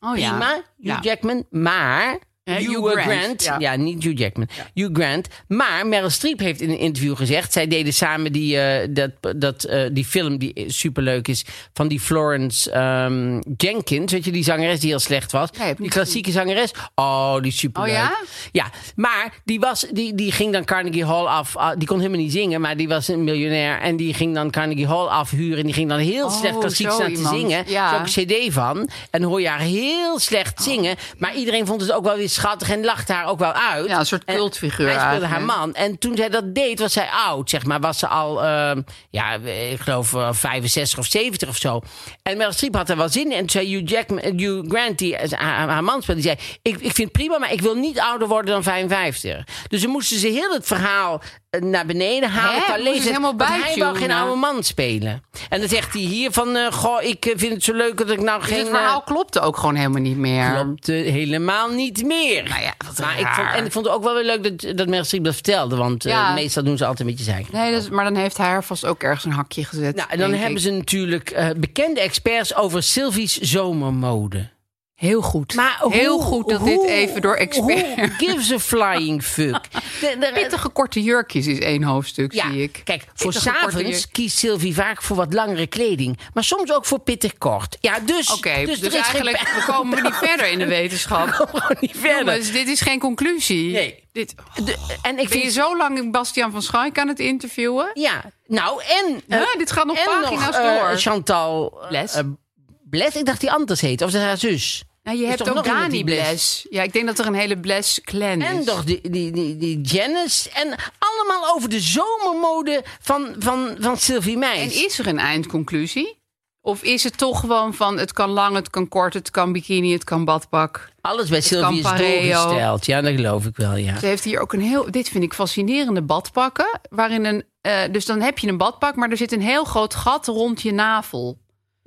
Speaker 4: Oh ja.
Speaker 2: prima, Hugh
Speaker 4: Ja.
Speaker 2: Jackman, maar...
Speaker 4: Eh,
Speaker 2: Hugh,
Speaker 4: Hugh
Speaker 2: eh,
Speaker 4: Grant,
Speaker 2: Grant,
Speaker 4: ja.
Speaker 2: ja. niet Hugh Jackman. Hugh Grant. Maar Meryl Streep heeft in een interview gezegd... zij deden samen die, eh, dat, dat, eh, die film die superleuk is... van die Florence ehm, Jenkins, weet je, die zangeres die heel slecht was.
Speaker 4: Nee, heb ik
Speaker 2: die
Speaker 4: niet
Speaker 2: klassieke zangeres. Oh, die is superleuk.
Speaker 4: Oh ja?
Speaker 2: Ja, maar die, was, die, die ging dan Carnegie Hall af. ah, die kon helemaal niet zingen, maar die was een miljonair. En die ging dan Carnegie Hall afhuren. En die ging dan heel
Speaker 4: Oh,
Speaker 2: slecht klassiek
Speaker 4: zo
Speaker 2: staan te
Speaker 4: iemand.
Speaker 2: zingen.
Speaker 4: Ja. Oh.
Speaker 2: Zo'n cd van. En dan hoor je haar heel slecht zingen. Maar iedereen vond het ook wel weer schattig en lachte haar ook wel uit.
Speaker 4: Ja, een soort
Speaker 2: En
Speaker 4: cultfiguur
Speaker 2: Hij speelde haar
Speaker 4: eigenlijk.
Speaker 2: man. En toen zij dat deed, was zij oud, zeg maar. Was ze al, ehm, ja, ik geloof eh, 65 of 70 of zo. En Meryl Streep had er wel zin in. En toen zei Hugh, Jackman, eh, Hugh Grant, die eh, haar, haar man speelde, die zei... Ik, ik vind het prima, maar ik wil niet ouder worden dan 55. Dus ze moesten ze heel het verhaal eh, naar beneden halen.
Speaker 4: Hè?
Speaker 2: qua
Speaker 4: Moesten ze
Speaker 2: leeftijd,
Speaker 4: helemaal
Speaker 2: want hij wou geen
Speaker 4: bijtunen?
Speaker 2: oude man spelen. En dan zegt hij hier van... eh, goh, ik eh, vind het zo leuk dat ik nou
Speaker 4: Dus
Speaker 2: geen...
Speaker 4: het verhaal
Speaker 2: eh,
Speaker 4: klopte ook gewoon helemaal niet meer.
Speaker 2: Klopt eh, helemaal niet meer.
Speaker 4: Nou ja, wat
Speaker 2: maar ik
Speaker 4: raar.
Speaker 2: vond, en ik vond het ook wel weer leuk dat, dat Meryl Streep dat vertelde. Want eh,
Speaker 4: Ja.
Speaker 2: meestal doen ze altijd met je zeiken.
Speaker 4: Nee, dus, maar dan heeft hij haar vast ook ergens een hakje gezet.
Speaker 2: Nou, en dan
Speaker 4: denk
Speaker 2: hebben
Speaker 4: ik.
Speaker 2: ze natuurlijk eh, bekende experts over Sylvie's zomermode.
Speaker 4: Heel goed. Heel goed dat dit even door experts...
Speaker 2: Who gives a flying
Speaker 4: <laughs>
Speaker 2: fuck? De- de-
Speaker 4: Pittige korte jurkjes is één hoofdstuk, zie ik.
Speaker 2: Kijk, voor
Speaker 4: Pittige korte jurk-
Speaker 2: s'avonds kiest Sylvie vaak voor wat langere kleding. Maar soms ook voor pittig kort. Ja, dus,
Speaker 4: Oké,
Speaker 2: dus,
Speaker 4: dus,
Speaker 2: er is
Speaker 4: eigenlijk
Speaker 2: geen...
Speaker 4: we komen we niet verder in de
Speaker 2: <laughs>
Speaker 4: wetenschap.
Speaker 2: gewoon niet verder.
Speaker 4: Jongens, dit is geen conclusie.
Speaker 2: Nee.
Speaker 4: Dit,
Speaker 2: De- en ik
Speaker 4: ben je
Speaker 2: vind...
Speaker 4: zo lang Bastiaan van Schaik aan het interviewen?
Speaker 2: Ja, nou en... eh,
Speaker 4: Huh, dit gaat nog
Speaker 2: en
Speaker 4: pagina's
Speaker 2: nog, eh,
Speaker 4: door.
Speaker 2: Chantal...
Speaker 4: Les.
Speaker 2: eh, Les? Ik dacht die anders heet. Of dat haar zus.
Speaker 4: Nou, je
Speaker 2: Is
Speaker 4: hebt
Speaker 2: toch
Speaker 4: ook
Speaker 2: nog iemand die
Speaker 4: Dani
Speaker 2: Bless?
Speaker 4: Bless. Ja, ik denk dat er een hele Bless-clan is.
Speaker 2: En toch die, die, die, die Janice. En allemaal over de zomermode van, van, van Sylvie
Speaker 4: En
Speaker 2: Meijs.
Speaker 4: is er een eindconclusie? Of is het toch gewoon van het kan lang, het kan kort, het kan bikini, het kan badpak?
Speaker 2: Alles bij Sylvie is
Speaker 4: Campareo.
Speaker 2: doorgesteld. Ja, dat geloof ik wel, ja.
Speaker 4: Ze heeft hier ook een heel, dit vind ik fascinerende badpakken. Waarin een, eh, dus dan heb je een badpak, maar er zit een heel groot gat rond je navel.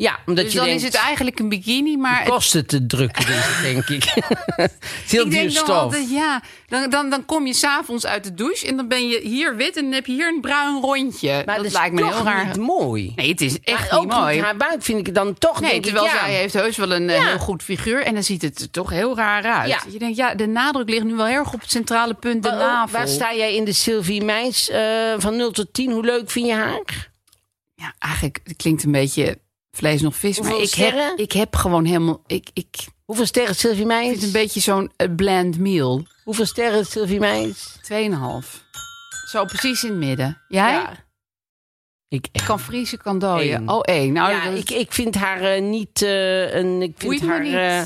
Speaker 2: Ja, omdat
Speaker 4: dus
Speaker 2: je
Speaker 4: dan
Speaker 2: denkt,
Speaker 4: is het eigenlijk een bikini, maar het,
Speaker 2: kosten te
Speaker 4: <laughs>
Speaker 2: drukken, dus, denk ik. Het is heel
Speaker 4: ik
Speaker 2: duur
Speaker 4: denk dan
Speaker 2: stof.
Speaker 4: altijd, ja, dan, dan, dan kom je s'avonds uit de douche en dan ben je hier wit en dan heb je hier een bruin rondje.
Speaker 2: Maar
Speaker 4: dat
Speaker 2: is
Speaker 4: lijkt me
Speaker 2: toch
Speaker 4: heel raar.
Speaker 2: niet mooi.
Speaker 4: Nee, het is echt
Speaker 2: Maar ook
Speaker 4: niet mooi.
Speaker 2: met haar buik vind ik het dan toch
Speaker 4: Nee,
Speaker 2: denk
Speaker 4: terwijl
Speaker 2: ik, ja.
Speaker 4: zij heeft heus wel een eh,
Speaker 2: Ja.
Speaker 4: heel goed figuur. En dan ziet het er toch heel raar uit.
Speaker 2: Ja.
Speaker 4: Je denkt, ja, de nadruk ligt nu wel heel erg op het centrale punt, de
Speaker 2: Oh, Waar-
Speaker 4: navel.
Speaker 2: Waar sta jij in de Sylvie Meijs eh, van 0 tot 10? Hoe leuk vind je haar?
Speaker 4: Ja, eigenlijk het klinkt een beetje vlees nog vis. Maar
Speaker 2: Hoeveel
Speaker 4: ik heb,
Speaker 2: sterren?
Speaker 4: ik heb gewoon helemaal... Ik, ik
Speaker 2: Hoeveel sterren is Sylvie
Speaker 4: vind
Speaker 2: Meijs?
Speaker 4: het een beetje zo'n eh, bland meal.
Speaker 2: Hoeveel sterren is Sylvie Meijs?
Speaker 4: 2,5. Zo precies in het midden. Jij?
Speaker 2: Ik echt.
Speaker 4: Kan vriezen, kan dooien.
Speaker 2: Eén.
Speaker 4: Oh, één. Nou,
Speaker 2: ja,
Speaker 4: dat
Speaker 2: ik, ik vind haar eh, niet eh, een. Ik vind
Speaker 4: boeit me
Speaker 2: haar.
Speaker 4: niet.
Speaker 2: eh,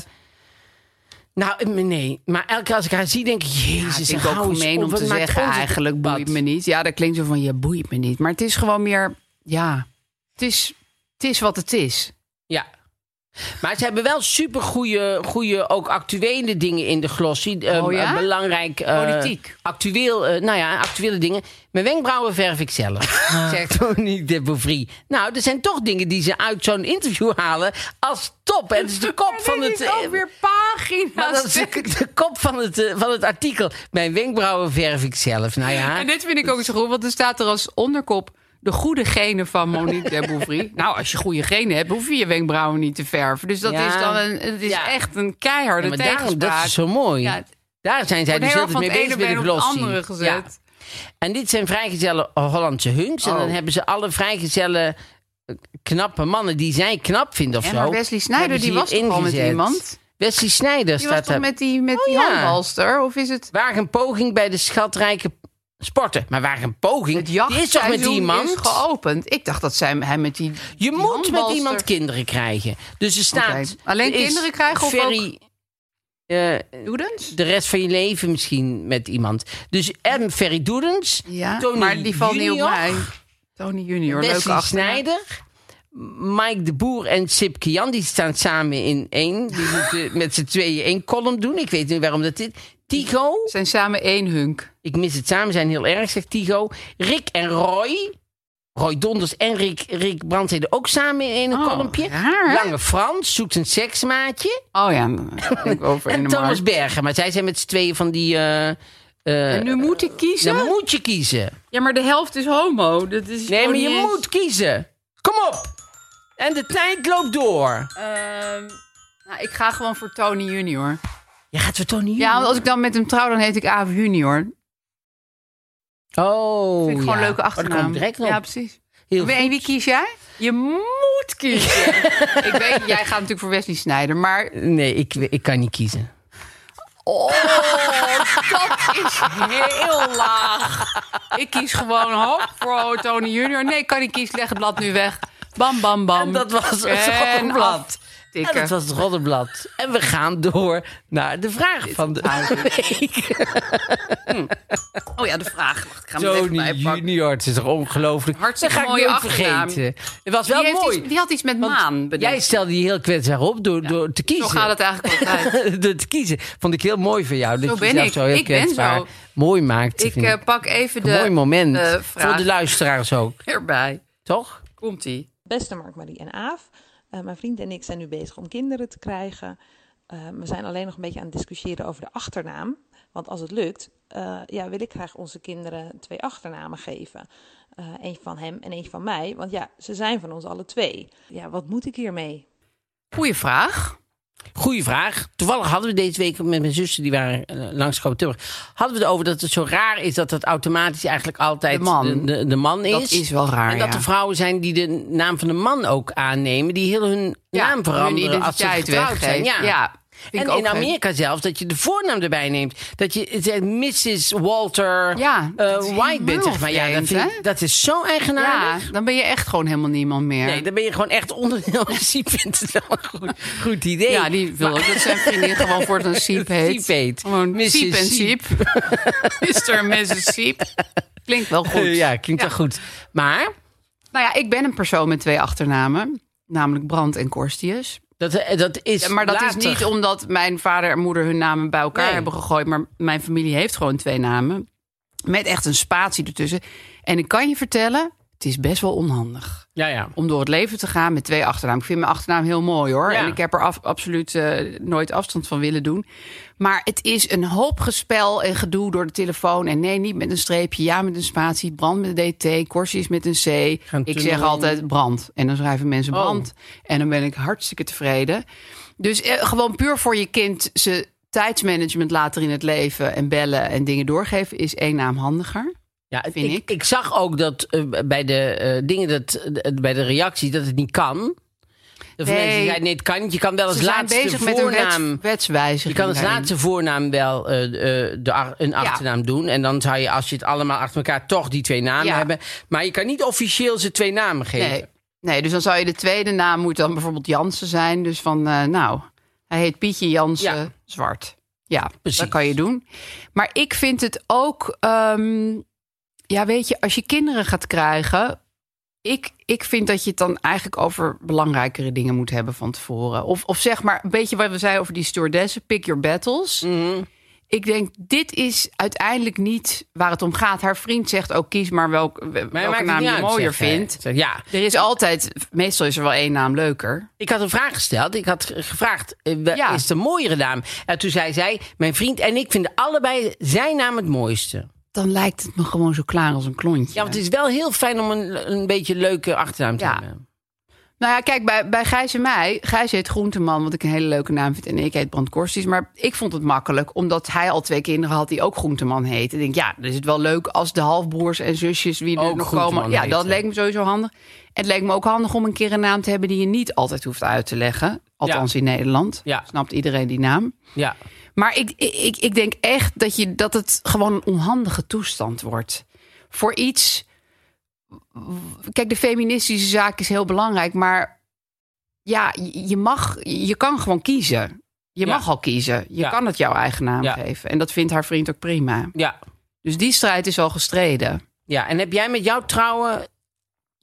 Speaker 2: nou, eh, nee. Maar elke keer als ik haar zie, denk ik:
Speaker 4: Ja, het
Speaker 2: Jezus,
Speaker 4: vind ik
Speaker 2: hou
Speaker 4: ook
Speaker 2: eens
Speaker 4: gemeen
Speaker 2: op,
Speaker 4: om
Speaker 2: wat
Speaker 4: te
Speaker 2: maakt
Speaker 4: zeggen
Speaker 2: ons het
Speaker 4: eigenlijk
Speaker 2: debat?
Speaker 4: boeit me niet. Ja, dat klinkt zo van je boeit me niet. Maar het is gewoon meer, ja, het is, het is wat het is.
Speaker 2: Ja. Maar ze hebben wel super goede, ook actuele dingen in de glossy. Eh,
Speaker 4: Oh ja?
Speaker 2: eh, belangrijk. eh,
Speaker 4: Politiek.
Speaker 2: Actueel, eh, nou ja, actuele dingen. Mijn wenkbrauwen verf ik
Speaker 4: <laughs>
Speaker 2: zelf,
Speaker 4: Ah.
Speaker 2: zegt Monique de Beauvry. Nou, er zijn toch dingen die ze uit zo'n interview halen als top. En het is de kop van het... eh,
Speaker 4: pagina's.
Speaker 2: maar dat is de, de kop van het, eh, van het artikel. Mijn wenkbrauwen verf ik zelf. Nou ja.
Speaker 4: <laughs> En dit vind ik ook zo goed, want er staat er als onderkop... de goede genen van Monique de
Speaker 2: <laughs>
Speaker 4: Beauvry. nou, als je goede genen hebt, hoef je je wenkbrauwen niet te verven. Dus dat
Speaker 2: Ja.
Speaker 4: is dan een, het is
Speaker 2: Ja.
Speaker 4: echt een keiharde
Speaker 2: Ja, maar daarom, dat
Speaker 4: tegenspraak.
Speaker 2: is zo mooi.
Speaker 4: Ja, het
Speaker 2: Daar zijn zij dus
Speaker 4: wordt heel
Speaker 2: altijd
Speaker 4: erg van
Speaker 2: mee
Speaker 4: het ene
Speaker 2: bezig met de
Speaker 4: been op het
Speaker 2: glossy.
Speaker 4: andere gezet.
Speaker 2: En dit zijn vrijgezellen Hollandse hunks. En
Speaker 4: Oh.
Speaker 2: dan hebben ze alle vrijgezellen eh, knappe mannen die zij knap vinden of
Speaker 4: En
Speaker 2: zo.
Speaker 4: maar Wesley Snyder,
Speaker 2: hebben ze
Speaker 4: die was toch al met
Speaker 2: ingezet.
Speaker 4: iemand?
Speaker 2: Wesley Snyder
Speaker 4: Die was
Speaker 2: staat
Speaker 4: toch
Speaker 2: daar.
Speaker 4: met die, met die
Speaker 2: Oh ja.
Speaker 4: handbalster? Of is het...
Speaker 2: Waar een poging bij de schatrijke sporten. Maar waar een poging?
Speaker 4: Het
Speaker 2: die is toch met
Speaker 4: jachtseizoen
Speaker 2: iemand?
Speaker 4: is geopend. Ik dacht dat zij, hij met die...
Speaker 2: Je moet met
Speaker 4: handbalster-
Speaker 2: iemand kinderen krijgen. Dus er staat...
Speaker 4: Oké. Alleen
Speaker 2: er is
Speaker 4: kinderen krijgen of
Speaker 2: Ferry, eh,
Speaker 4: Doedens?
Speaker 2: de rest van je leven misschien met iemand. Dus en Ferry Doedens,
Speaker 4: Ja,
Speaker 2: Tony
Speaker 4: maar die valt niet op
Speaker 2: Junior,
Speaker 4: mij. Tony Junior, leuke
Speaker 2: Wesley
Speaker 4: achternaam.
Speaker 2: Snijder, Mike de Boer en Sip Kian. Die staan samen in één.
Speaker 4: <laughs>
Speaker 2: Die moeten met z'n tweeën één column doen. Ik weet niet waarom dat dit... Tigo,
Speaker 4: Zijn samen één hunk.
Speaker 2: ik mis het samen zijn heel erg, zegt Tigo. Rick en Roy. Roy Donders en Rick, Rick Brandstede ook samen in een
Speaker 4: Oh,
Speaker 2: kolompje.
Speaker 4: raar, hè?
Speaker 2: Lange Frans zoekt een seksmaatje.
Speaker 4: Oh ja, dan
Speaker 2: <laughs>
Speaker 4: ben ik over in
Speaker 2: En
Speaker 4: de
Speaker 2: Thomas
Speaker 4: markt.
Speaker 2: Berger. Maar zij zijn met z'n tweeën van die... eh, eh,
Speaker 4: En nu moet ik kiezen?
Speaker 2: dan moet je kiezen.
Speaker 4: Ja, maar de helft is homo. Dat is
Speaker 2: Nee,
Speaker 4: gewoon
Speaker 2: maar je
Speaker 4: niet eens-
Speaker 2: moet kiezen. Kom op. En de tijd loopt door.
Speaker 4: Ehm, nou, ik ga gewoon voor Tony Junior.
Speaker 2: Je gaat voor Tony
Speaker 4: Ja, want
Speaker 2: Junior.
Speaker 4: als ik dan met hem trouw, dan heet ik Aaf Junior.
Speaker 2: Oh,
Speaker 4: Vind ik gewoon
Speaker 2: ja.
Speaker 4: een leuke
Speaker 2: Oh, daar
Speaker 4: achternaam.
Speaker 2: kom ik direct op.
Speaker 4: Ja, precies.
Speaker 2: Heel
Speaker 4: En wie kies jij? Je moet kiezen. ik weet, jij gaat natuurlijk voor Wesley Snijder, maar
Speaker 2: goed. <laughs> Nee, ik, ik kan niet kiezen.
Speaker 4: Oh, dat is heel laag. Ik kies gewoon hop voor Tony Junior. Nee, kan ik kies, leg het blad nu weg. Bam, bam, bam.
Speaker 2: En dat was het
Speaker 4: En
Speaker 2: Roddenblad. En dat
Speaker 4: aftikken.
Speaker 2: was het Roddenblad. En we gaan door naar de vraag van de week.
Speaker 4: Oh ja, de vraag. Wacht, ik ga hem er
Speaker 2: <laughs>
Speaker 4: even
Speaker 2: Tony
Speaker 4: bij pakken.
Speaker 2: Junior, het is toch ongelooflijk.
Speaker 4: Hartstikke
Speaker 2: Dat ga ik
Speaker 4: mooie
Speaker 2: nooit
Speaker 4: achternaam.
Speaker 2: vergeten. Het was wel
Speaker 4: Die, heeft
Speaker 2: mooi.
Speaker 4: iets- die had iets met maan bedacht.
Speaker 2: Jij stelde je heel kwetsbaar op door, door te kiezen.
Speaker 4: Zo gaat het <laughs> eigenlijk
Speaker 2: <laughs>
Speaker 4: altijd.
Speaker 2: door te kiezen. Vond ik heel mooi van jou. Dat
Speaker 4: Zo
Speaker 2: je
Speaker 4: ben
Speaker 2: jezelf
Speaker 4: ik.
Speaker 2: zo heel
Speaker 4: Ik ben
Speaker 2: kwetsbaar
Speaker 4: zo.
Speaker 2: mooi maakt.
Speaker 4: Ik
Speaker 2: vind
Speaker 4: eh, pak even de
Speaker 2: een mooi moment.
Speaker 4: eh,
Speaker 2: voor
Speaker 4: vraag
Speaker 2: de luisteraars ook,
Speaker 4: erbij.
Speaker 2: toch?
Speaker 4: Komt-ie.
Speaker 5: Beste Mark, Marie en Aaf. eh, mijn vriend en ik zijn nu bezig om kinderen te krijgen. Eh, we zijn alleen nog een beetje aan het discussiëren over de achternaam. Want als het lukt, eh, ja, wil ik graag onze kinderen twee achternamen geven. Eh eentje van hem en eentje van mij. Want ja, ze zijn van ons alle twee. Ja, wat moet ik hiermee?
Speaker 4: Goeie vraag.
Speaker 2: Goeie vraag. Toevallig hadden we deze week met mijn zussen, die waren eh, langs Tilburg, hadden we het over dat het zo raar is dat het automatisch eigenlijk altijd
Speaker 4: De man.
Speaker 2: de, de, de man is.
Speaker 4: Dat is wel raar,
Speaker 2: En dat
Speaker 4: ja.
Speaker 2: er vrouwen zijn die de naam van de man ook aannemen, die heel hun
Speaker 4: Ja,
Speaker 2: naam veranderen
Speaker 4: hun
Speaker 2: als ze
Speaker 4: identiteit
Speaker 2: getrouwd zijn.
Speaker 4: weggeeft.
Speaker 2: Ja.
Speaker 4: ja. ik
Speaker 2: en
Speaker 4: ook
Speaker 2: in
Speaker 4: gek.
Speaker 2: Amerika zelfs, dat je de voornaam erbij neemt. Dat je zegt Mrs. Walter
Speaker 4: Ja,
Speaker 2: eh,
Speaker 4: dat is
Speaker 2: White bent,
Speaker 4: helemaal
Speaker 2: zeg maar. Ja, dat,
Speaker 4: vreemd,
Speaker 2: vind ik-
Speaker 4: hè?
Speaker 2: dat is zo
Speaker 4: Ja,
Speaker 2: eigenaardig.
Speaker 4: dan ben je echt gewoon helemaal niemand meer.
Speaker 2: Nee, dan ben je gewoon echt onderdeel. <laughs> En Siep vindt het wel een goed, goed idee.
Speaker 4: ja, die wil ook dat zijn vriendin gewoon voor een
Speaker 2: <laughs>
Speaker 4: Siep heet.
Speaker 2: Siep heet.
Speaker 4: Gewoon
Speaker 2: Mrs.
Speaker 4: Siep en Siep.
Speaker 2: <laughs>
Speaker 4: Mr. en Mrs. Siep. Klinkt wel goed.
Speaker 2: Eh, <laughs> Ja, klinkt wel goed. Maar
Speaker 4: Nou ja, ik ben een persoon met twee achternamen. Namelijk Brand en Korstius.
Speaker 2: dat, eh, dat is
Speaker 4: Ja, Maar dat is
Speaker 2: later.
Speaker 4: niet omdat mijn vader en moeder hun namen bij elkaar
Speaker 2: Nee.
Speaker 4: hebben gegooid. Maar mijn familie heeft gewoon twee namen. Met echt een spatie ertussen. En ik kan je vertellen, het is best wel onhandig.
Speaker 2: Ja, ja.
Speaker 4: Om door het leven te gaan met twee achternamen. Ik vind mijn achternaam heel mooi hoor.
Speaker 2: Ja.
Speaker 4: En ik heb er af- absoluut eh, nooit afstand van willen doen. Maar het is een hoop gespel en gedoe door de telefoon. En nee, niet met een streepje. Ja, met een spatie. Brand met een DT. Korsius met een C.
Speaker 2: Gaan
Speaker 4: ik zeg
Speaker 2: tunnelen.
Speaker 4: altijd brand. En dan schrijven mensen
Speaker 2: Oh.
Speaker 4: brand. En dan ben ik hartstikke tevreden. Dus eh, gewoon puur voor je kind ze tijdsmanagement later in het leven en bellen en dingen doorgeven is één naam handiger.
Speaker 2: Ja, het-
Speaker 4: vind
Speaker 2: ik, ik.
Speaker 4: ik.
Speaker 2: zag ook dat eh, bij de eh, dingen, dat, eh, bij de reactie, dat het niet kan. Of
Speaker 4: Nee.
Speaker 2: mensen die zeiden, nee, het kan niet. Je kan wel als
Speaker 4: Ze zijn
Speaker 2: laatste
Speaker 4: bezig met een
Speaker 2: voornaam...
Speaker 4: wets, wetswijziging.
Speaker 2: je kan als
Speaker 4: daarin.
Speaker 2: laatste voornaam wel eh, eh, de, ar- een achternaam doen. En dan zou je, als je het allemaal achter elkaar, toch die twee namen
Speaker 4: Ja.
Speaker 2: hebben. Maar je kan niet officieel ze twee namen geven.
Speaker 4: Nee. nee, dus dan zou je de tweede naam moet dan bijvoorbeeld Jansen zijn. Dus van, eh, nou, hij heet Pietje Jansen
Speaker 2: Ja.
Speaker 4: Zwart. Ja,
Speaker 2: Precies.
Speaker 4: dat kan je doen. Maar ik vind het ook, ehm, ja, weet je, als je kinderen gaat krijgen. Ik, ik vind dat je het dan eigenlijk over belangrijkere dingen moet hebben van tevoren. Of, of zeg maar, een beetje wat we zeiden over die stewardessen, pick your battles.
Speaker 2: Mhm.
Speaker 4: Ik denk, dit is uiteindelijk niet waar het om gaat. Haar vriend zegt ook, kies maar welk,
Speaker 2: Maar
Speaker 4: welke
Speaker 2: maakt het
Speaker 4: naam
Speaker 2: niet
Speaker 4: je
Speaker 2: uit,
Speaker 4: mooier
Speaker 2: zegt hij.
Speaker 4: vindt.
Speaker 2: Zegt, Ja,
Speaker 4: Er is altijd, meestal is er wel één naam leuker.
Speaker 2: Ik had een vraag gesteld. Ik had ge- gevraagd, eh, wel-
Speaker 4: Ja.
Speaker 2: is de mooiere naam? En toen zei zij, mijn vriend en ik vinden allebei zijn naam het mooiste.
Speaker 4: Dan lijkt het me gewoon zo klaar als een klontje.
Speaker 2: Ja, want het is wel heel fijn om een, een beetje leuke achternaam te
Speaker 4: Ja.
Speaker 2: hebben.
Speaker 4: Nou ja, kijk, bij, bij Gijs en mij... Gijs heet Groenteman, wat ik een hele leuke naam vind. En ik heet Brand Korsties. Maar ik vond het makkelijk, omdat hij al twee kinderen had... die ook Groenteman heet. En ik denk, ja, dan is het wel leuk als de halfbroers en zusjes... wie er
Speaker 2: Ook
Speaker 4: nog
Speaker 2: Groenteman
Speaker 4: komen. Ja,
Speaker 2: heet,
Speaker 4: dat
Speaker 2: hè?
Speaker 4: leek me sowieso handig. Het leek me ook handig om een keer een naam te hebben... die je niet altijd hoeft uit te leggen. Althans in Nederland.
Speaker 2: Ja.
Speaker 4: Snapt iedereen die naam.
Speaker 2: Ja.
Speaker 4: Maar ik, ik, ik denk echt dat, je, dat het gewoon een onhandige toestand wordt. Voor iets. Kijk, de feministische zaak is heel belangrijk, maar ja, je je mag, je kan gewoon kiezen. Je
Speaker 2: Ja.
Speaker 4: mag al kiezen. Je
Speaker 2: Ja.
Speaker 4: kan het jouw eigen naam
Speaker 2: Ja.
Speaker 4: geven. En dat vindt haar vriend ook prima.
Speaker 2: ja.
Speaker 4: Dus die strijd is al gestreden.
Speaker 2: Ja, en heb jij met jouw trouwen...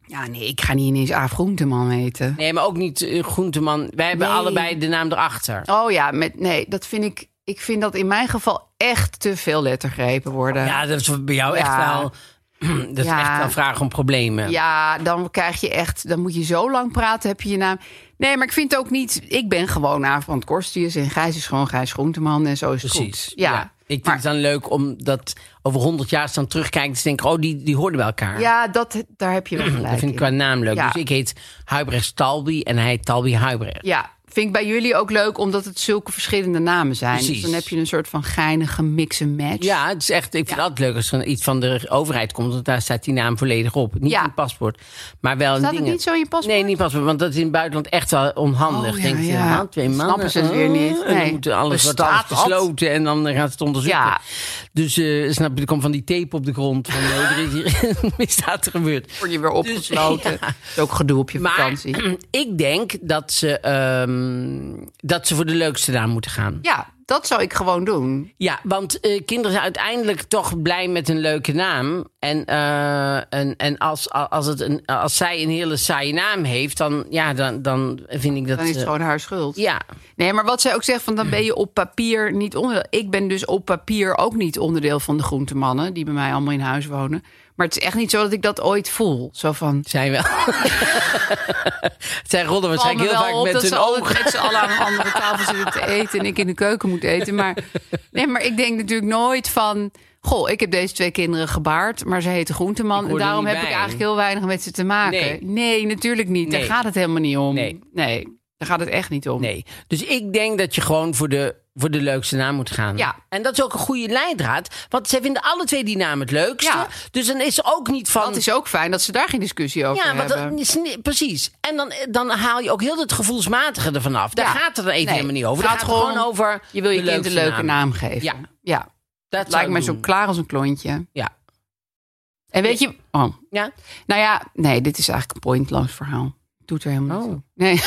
Speaker 4: Ja, nee, ik ga niet ineens Aaf Groenteman heten.
Speaker 2: Nee, maar ook niet eh, Groenteman. Wij hebben
Speaker 4: Nee.
Speaker 2: allebei de naam erachter.
Speaker 4: Oh ja, met, nee, dat vind ik. Ik vind dat in mijn geval echt te veel lettergrepen worden.
Speaker 2: Ja, dat is bij jou echt
Speaker 4: Ja.
Speaker 2: wel... <clears throat> Dat is
Speaker 4: Ja.
Speaker 2: echt wel vragen om problemen.
Speaker 4: Ja, dan krijg je echt, dan moet je zo lang praten, heb je je naam. Nee, maar ik vind het ook niet. Ik ben gewoon Aafbrand Korstius en Gijs is gewoon Gijs Groenteman en zo is het
Speaker 2: Precies.
Speaker 4: goed. Ja.
Speaker 2: Ik vind
Speaker 4: Maar-
Speaker 2: het dan leuk om dat over honderd jaar als je dan terugkijken... te denken, oh, die, die hoorden bij elkaar.
Speaker 4: Ja, dat, daar heb je wel gelijk
Speaker 2: Dat vind ik qua
Speaker 4: in.
Speaker 2: naam leuk.
Speaker 4: Ja.
Speaker 2: Dus ik heet Huibrecht Talbi en hij heet Talbi Huibrecht.
Speaker 4: Ja, vind ik bij jullie ook leuk, omdat het zulke verschillende namen zijn.
Speaker 2: Precies.
Speaker 4: Dus dan heb je een soort van geinige mix en match.
Speaker 2: Ja, het is echt, ik vind het altijd leuk als er iets van de overheid komt. Want daar staat die naam volledig op. Niet
Speaker 4: Ja.
Speaker 2: in het paspoort, maar wel in
Speaker 4: Staat
Speaker 2: dingen.
Speaker 4: het niet zo in je paspoort?
Speaker 2: Nee, niet paspoort, want dat is in het buitenland echt wel onhandig.
Speaker 4: Oh, ja,
Speaker 2: Denk je,
Speaker 4: ja.
Speaker 2: man, twee
Speaker 4: Dan
Speaker 2: mannen.
Speaker 4: snappen ze het weer niet.
Speaker 2: oh, en dan
Speaker 4: Nee.
Speaker 2: moeten alles wordt
Speaker 4: Bestaat
Speaker 2: alles
Speaker 4: dat?
Speaker 2: gesloten en dan gaan ze het onderzoeken.
Speaker 4: Ja.
Speaker 2: Dus eh, snap je, er komt van die tape op de grond. Van, eh, er is hier <laughs> een misdaad gebeurd.
Speaker 4: Word je weer opgesloten.
Speaker 2: Dus, <laughs> ja.
Speaker 4: Dat is ook gedoe op je
Speaker 2: Maar <clears throat>
Speaker 4: vakantie.
Speaker 2: ik denk dat ze, ehm, dat ze voor de leukste naam moeten gaan.
Speaker 4: Ja, dat zou ik gewoon doen.
Speaker 2: Ja, want eh, kinderen zijn uiteindelijk toch blij met een leuke naam. En, eh, en, en als, als, het een, als zij een hele saaie naam heeft, dan, ja, dan, dan vind ik dat.
Speaker 4: Dan is het
Speaker 2: eh,
Speaker 4: gewoon haar schuld.
Speaker 2: ja,
Speaker 4: Nee, maar wat zij ook zegt, van dan ben je op papier niet onderdeel. Ik ben dus op papier ook niet onderdeel van de groentemannen... die bij mij allemaal in huis wonen. Maar het is echt niet zo dat ik dat ooit voel. Zo van...
Speaker 2: zijn wel. <laughs> zij rollen
Speaker 4: Val me
Speaker 2: waarschijnlijk heel
Speaker 4: wel op
Speaker 2: vaak met
Speaker 4: dat ze
Speaker 2: hun
Speaker 4: altijd
Speaker 2: ogen.
Speaker 4: met z'n allen aan een andere tafel zitten te eten... en ik in de keuken moet eten. Maar, nee, maar ik denk natuurlijk nooit van... Goh, ik heb deze twee kinderen gebaard, maar ze heten Groenteman.
Speaker 2: Ik
Speaker 4: En
Speaker 2: hoor er
Speaker 4: daarom
Speaker 2: niet
Speaker 4: heb ik
Speaker 2: bij.
Speaker 4: eigenlijk heel weinig met ze te maken.
Speaker 2: Nee.
Speaker 4: Nee, natuurlijk niet.
Speaker 2: Nee.
Speaker 4: Daar gaat het helemaal niet om.
Speaker 2: Nee.
Speaker 4: nee. Daar gaat het echt niet om.
Speaker 2: Nee. Dus ik denk dat je gewoon voor de, voor de leukste naam moet gaan.
Speaker 4: Ja.
Speaker 2: En dat is ook een goede leidraad. Want zij vinden alle twee die naam het leukste.
Speaker 4: Ja.
Speaker 2: Dus dan is er ook niet van...
Speaker 4: Dat is ook fijn dat ze daar geen discussie over
Speaker 2: ja, want
Speaker 4: hebben.
Speaker 2: dat is niet- precies. En dan, eh, dan haal je ook heel het gevoelsmatige ervan af. Daar
Speaker 4: Ja.
Speaker 2: gaat het dan even
Speaker 4: Nee,
Speaker 2: helemaal niet over.
Speaker 4: het
Speaker 2: Het gaat
Speaker 4: gaat
Speaker 2: gewoon
Speaker 4: gewoon-
Speaker 2: over...
Speaker 4: Je wil je
Speaker 2: de
Speaker 4: kind een
Speaker 2: leukste
Speaker 4: leuke naam geven.
Speaker 2: Ja.
Speaker 4: ja.
Speaker 2: Dat
Speaker 4: Het
Speaker 2: zou
Speaker 4: lijkt
Speaker 2: ik
Speaker 4: mij zo
Speaker 2: doen.
Speaker 4: klaar als een klontje.
Speaker 2: Ja.
Speaker 4: En weet je... Oh,
Speaker 2: Ja?
Speaker 4: nou ja, nee, dit is eigenlijk een pointloos verhaal. Doet er helemaal
Speaker 2: Oh.
Speaker 4: niet toe. Nee.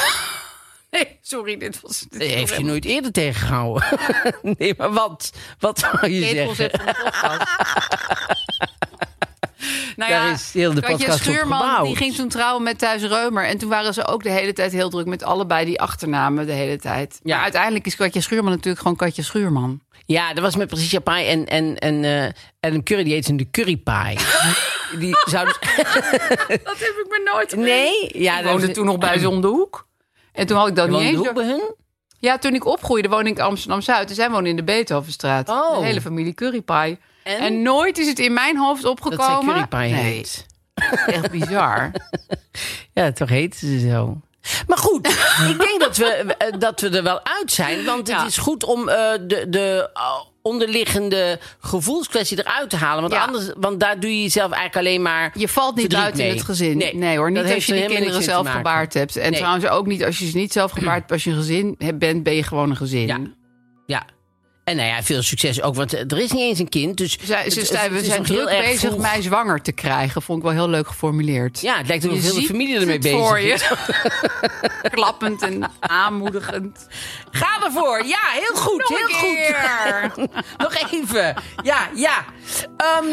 Speaker 4: <laughs> nee, sorry, dit was... Dit
Speaker 2: Nee,
Speaker 4: was
Speaker 2: heeft je
Speaker 4: helemaal-
Speaker 2: nooit eerder tegengehouden. <laughs> nee, maar wat? Wat zou je
Speaker 4: Dit
Speaker 2: zeggen?
Speaker 4: concept van de podcast. <laughs> nou
Speaker 2: Daar
Speaker 4: ja,
Speaker 2: is heel de
Speaker 4: Katja
Speaker 2: podcast op
Speaker 4: Schuurman
Speaker 2: gebouwd.
Speaker 4: die ging toen trouwen met Thijs Reumer. En toen waren ze ook de hele tijd heel druk met allebei die achternamen de hele tijd.
Speaker 2: Ja.
Speaker 4: Ja, uiteindelijk is Katja Schuurman natuurlijk gewoon Katja Schuurman.
Speaker 2: Ja, dat was met Patricia Pai en, en, en eh, Adam Curry. Die heette de Curry
Speaker 4: <laughs>
Speaker 2: Pie. die zou dus...
Speaker 4: Dat heb ik me nooit
Speaker 2: Nee? Ja,
Speaker 4: Ik
Speaker 2: dat
Speaker 4: woonde
Speaker 2: is-
Speaker 4: toen nog
Speaker 2: <clears throat>
Speaker 4: bij ze om de hoek. En toen had ik dat
Speaker 2: Je
Speaker 4: niet
Speaker 2: woonde
Speaker 4: eens.
Speaker 2: ook bij hun?
Speaker 4: Ja, toen ik opgroeide woonde ik in Amsterdam-Zuid. En zij woonde in de Beethovenstraat.
Speaker 2: Oh.
Speaker 4: De hele familie currypie.
Speaker 2: En?
Speaker 4: En? nooit is het in mijn hoofd
Speaker 2: Dat zij
Speaker 4: opgekomen.
Speaker 2: Curry Pie
Speaker 4: nee,
Speaker 2: heet.
Speaker 4: <laughs> echt bizar.
Speaker 2: Ja, toch heette ze zo. Maar
Speaker 4: <laughs>
Speaker 2: goed, ik denk dat we, eh, dat we er wel uit zijn. Want het
Speaker 4: Ja.
Speaker 2: is goed om eh, de, de eh, onderliggende gevoelskwestie eruit te halen. Want,
Speaker 4: Ja.
Speaker 2: anders, want daar doe je jezelf eigenlijk alleen maar...
Speaker 4: Je valt niet
Speaker 2: Verdriet
Speaker 4: uit
Speaker 2: mee.
Speaker 4: in het gezin.
Speaker 2: Nee,
Speaker 4: Nee, hoor,
Speaker 2: dat
Speaker 4: niet
Speaker 2: heeft
Speaker 4: als je
Speaker 2: er
Speaker 4: die
Speaker 2: helemaal
Speaker 4: kinderen
Speaker 2: niks mee te
Speaker 4: zelf
Speaker 2: maken.
Speaker 4: gebaard hebt. En
Speaker 2: Nee.
Speaker 4: trouwens ook niet als je ze niet zelf gebaard hebt. Als je een gezin hebt- bent, ben je gewoon een gezin.
Speaker 2: Ja. Ja. En nou ja, veel succes ook, want eh, er is niet eens een kind. Dus
Speaker 4: Zij- ze
Speaker 2: het-
Speaker 4: zijn-
Speaker 2: het
Speaker 4: we
Speaker 2: is
Speaker 4: zijn
Speaker 2: nog
Speaker 4: druk
Speaker 2: erg
Speaker 4: bezig
Speaker 2: vroeg.
Speaker 4: mij zwanger te krijgen. Vond ik wel heel leuk geformuleerd.
Speaker 2: Ja, het lijkt ook
Speaker 4: Je
Speaker 2: of heel de
Speaker 4: ziet
Speaker 2: familie ermee
Speaker 4: het
Speaker 2: bezig
Speaker 4: voor
Speaker 2: is.
Speaker 4: je. <laughs> Klappend en aanmoedigend.
Speaker 2: Mm. Ga ervoor. Ja, heel goed.
Speaker 4: Nog
Speaker 2: heel
Speaker 4: een
Speaker 2: goed. <laughs> Nog even. Ja, ja. Ehm,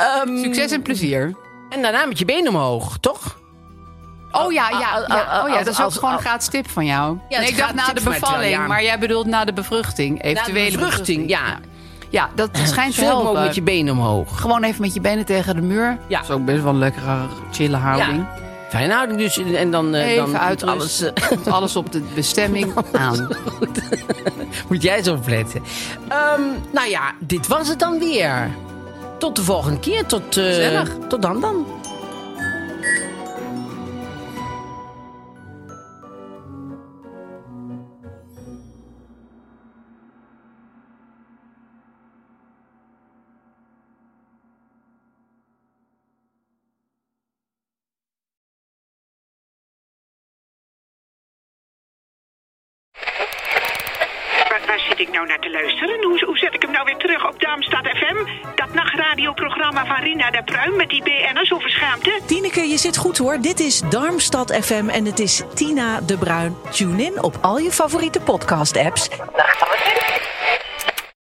Speaker 2: ehm,
Speaker 4: Succes en plezier.
Speaker 2: En daarna met je benen omhoog, toch?
Speaker 4: Oh ja,
Speaker 2: ah,
Speaker 4: ja,
Speaker 2: ah, ah,
Speaker 4: ja. Oh ja,
Speaker 2: als-
Speaker 4: dat is ook
Speaker 2: als-
Speaker 4: gewoon een
Speaker 2: als-
Speaker 4: gratis tip van jou.
Speaker 2: Ja,
Speaker 4: nee,
Speaker 2: het
Speaker 4: ik dacht
Speaker 2: gratis
Speaker 4: na
Speaker 2: tip
Speaker 4: de
Speaker 2: van mij,
Speaker 4: bevalling,
Speaker 2: terwijl, ja.
Speaker 4: maar jij bedoelt na de bevruchting. Eventuele
Speaker 2: bevruchting, ja.
Speaker 4: Ja, dat schijnt te
Speaker 2: Film ook
Speaker 4: helpen.
Speaker 2: met je benen omhoog.
Speaker 4: Gewoon even met je benen tegen de muur.
Speaker 2: Ja.
Speaker 4: Dat is ook best wel een lekkere, chille houding.
Speaker 2: Fijne houding dus. En dan, eh,
Speaker 4: Even
Speaker 2: dan
Speaker 4: uit
Speaker 2: alles.
Speaker 4: <laughs> alles,
Speaker 2: eh,
Speaker 4: alles op de
Speaker 2: <laughs>
Speaker 4: bestemming aan.
Speaker 2: moet jij zo opletten. Ehm, nou ja, dit was het dan weer. Tot de volgende keer. Tot, eh,
Speaker 4: Gezellig.
Speaker 2: tot dan dan.
Speaker 6: Waar, waar zit ik nou naar te luisteren? Hoe, hoe zet ik hem nou weer terug op Darmstad FM? Dat nachtradioprogramma van Rina de Pruim met die BN'ers over schaamte?
Speaker 7: Tineke, je zit goed hoor. Dit is Darmstad FM en het is Tina de Bruin. Tune in op al je favoriete podcast-apps.
Speaker 8: Nachtradioprogramma.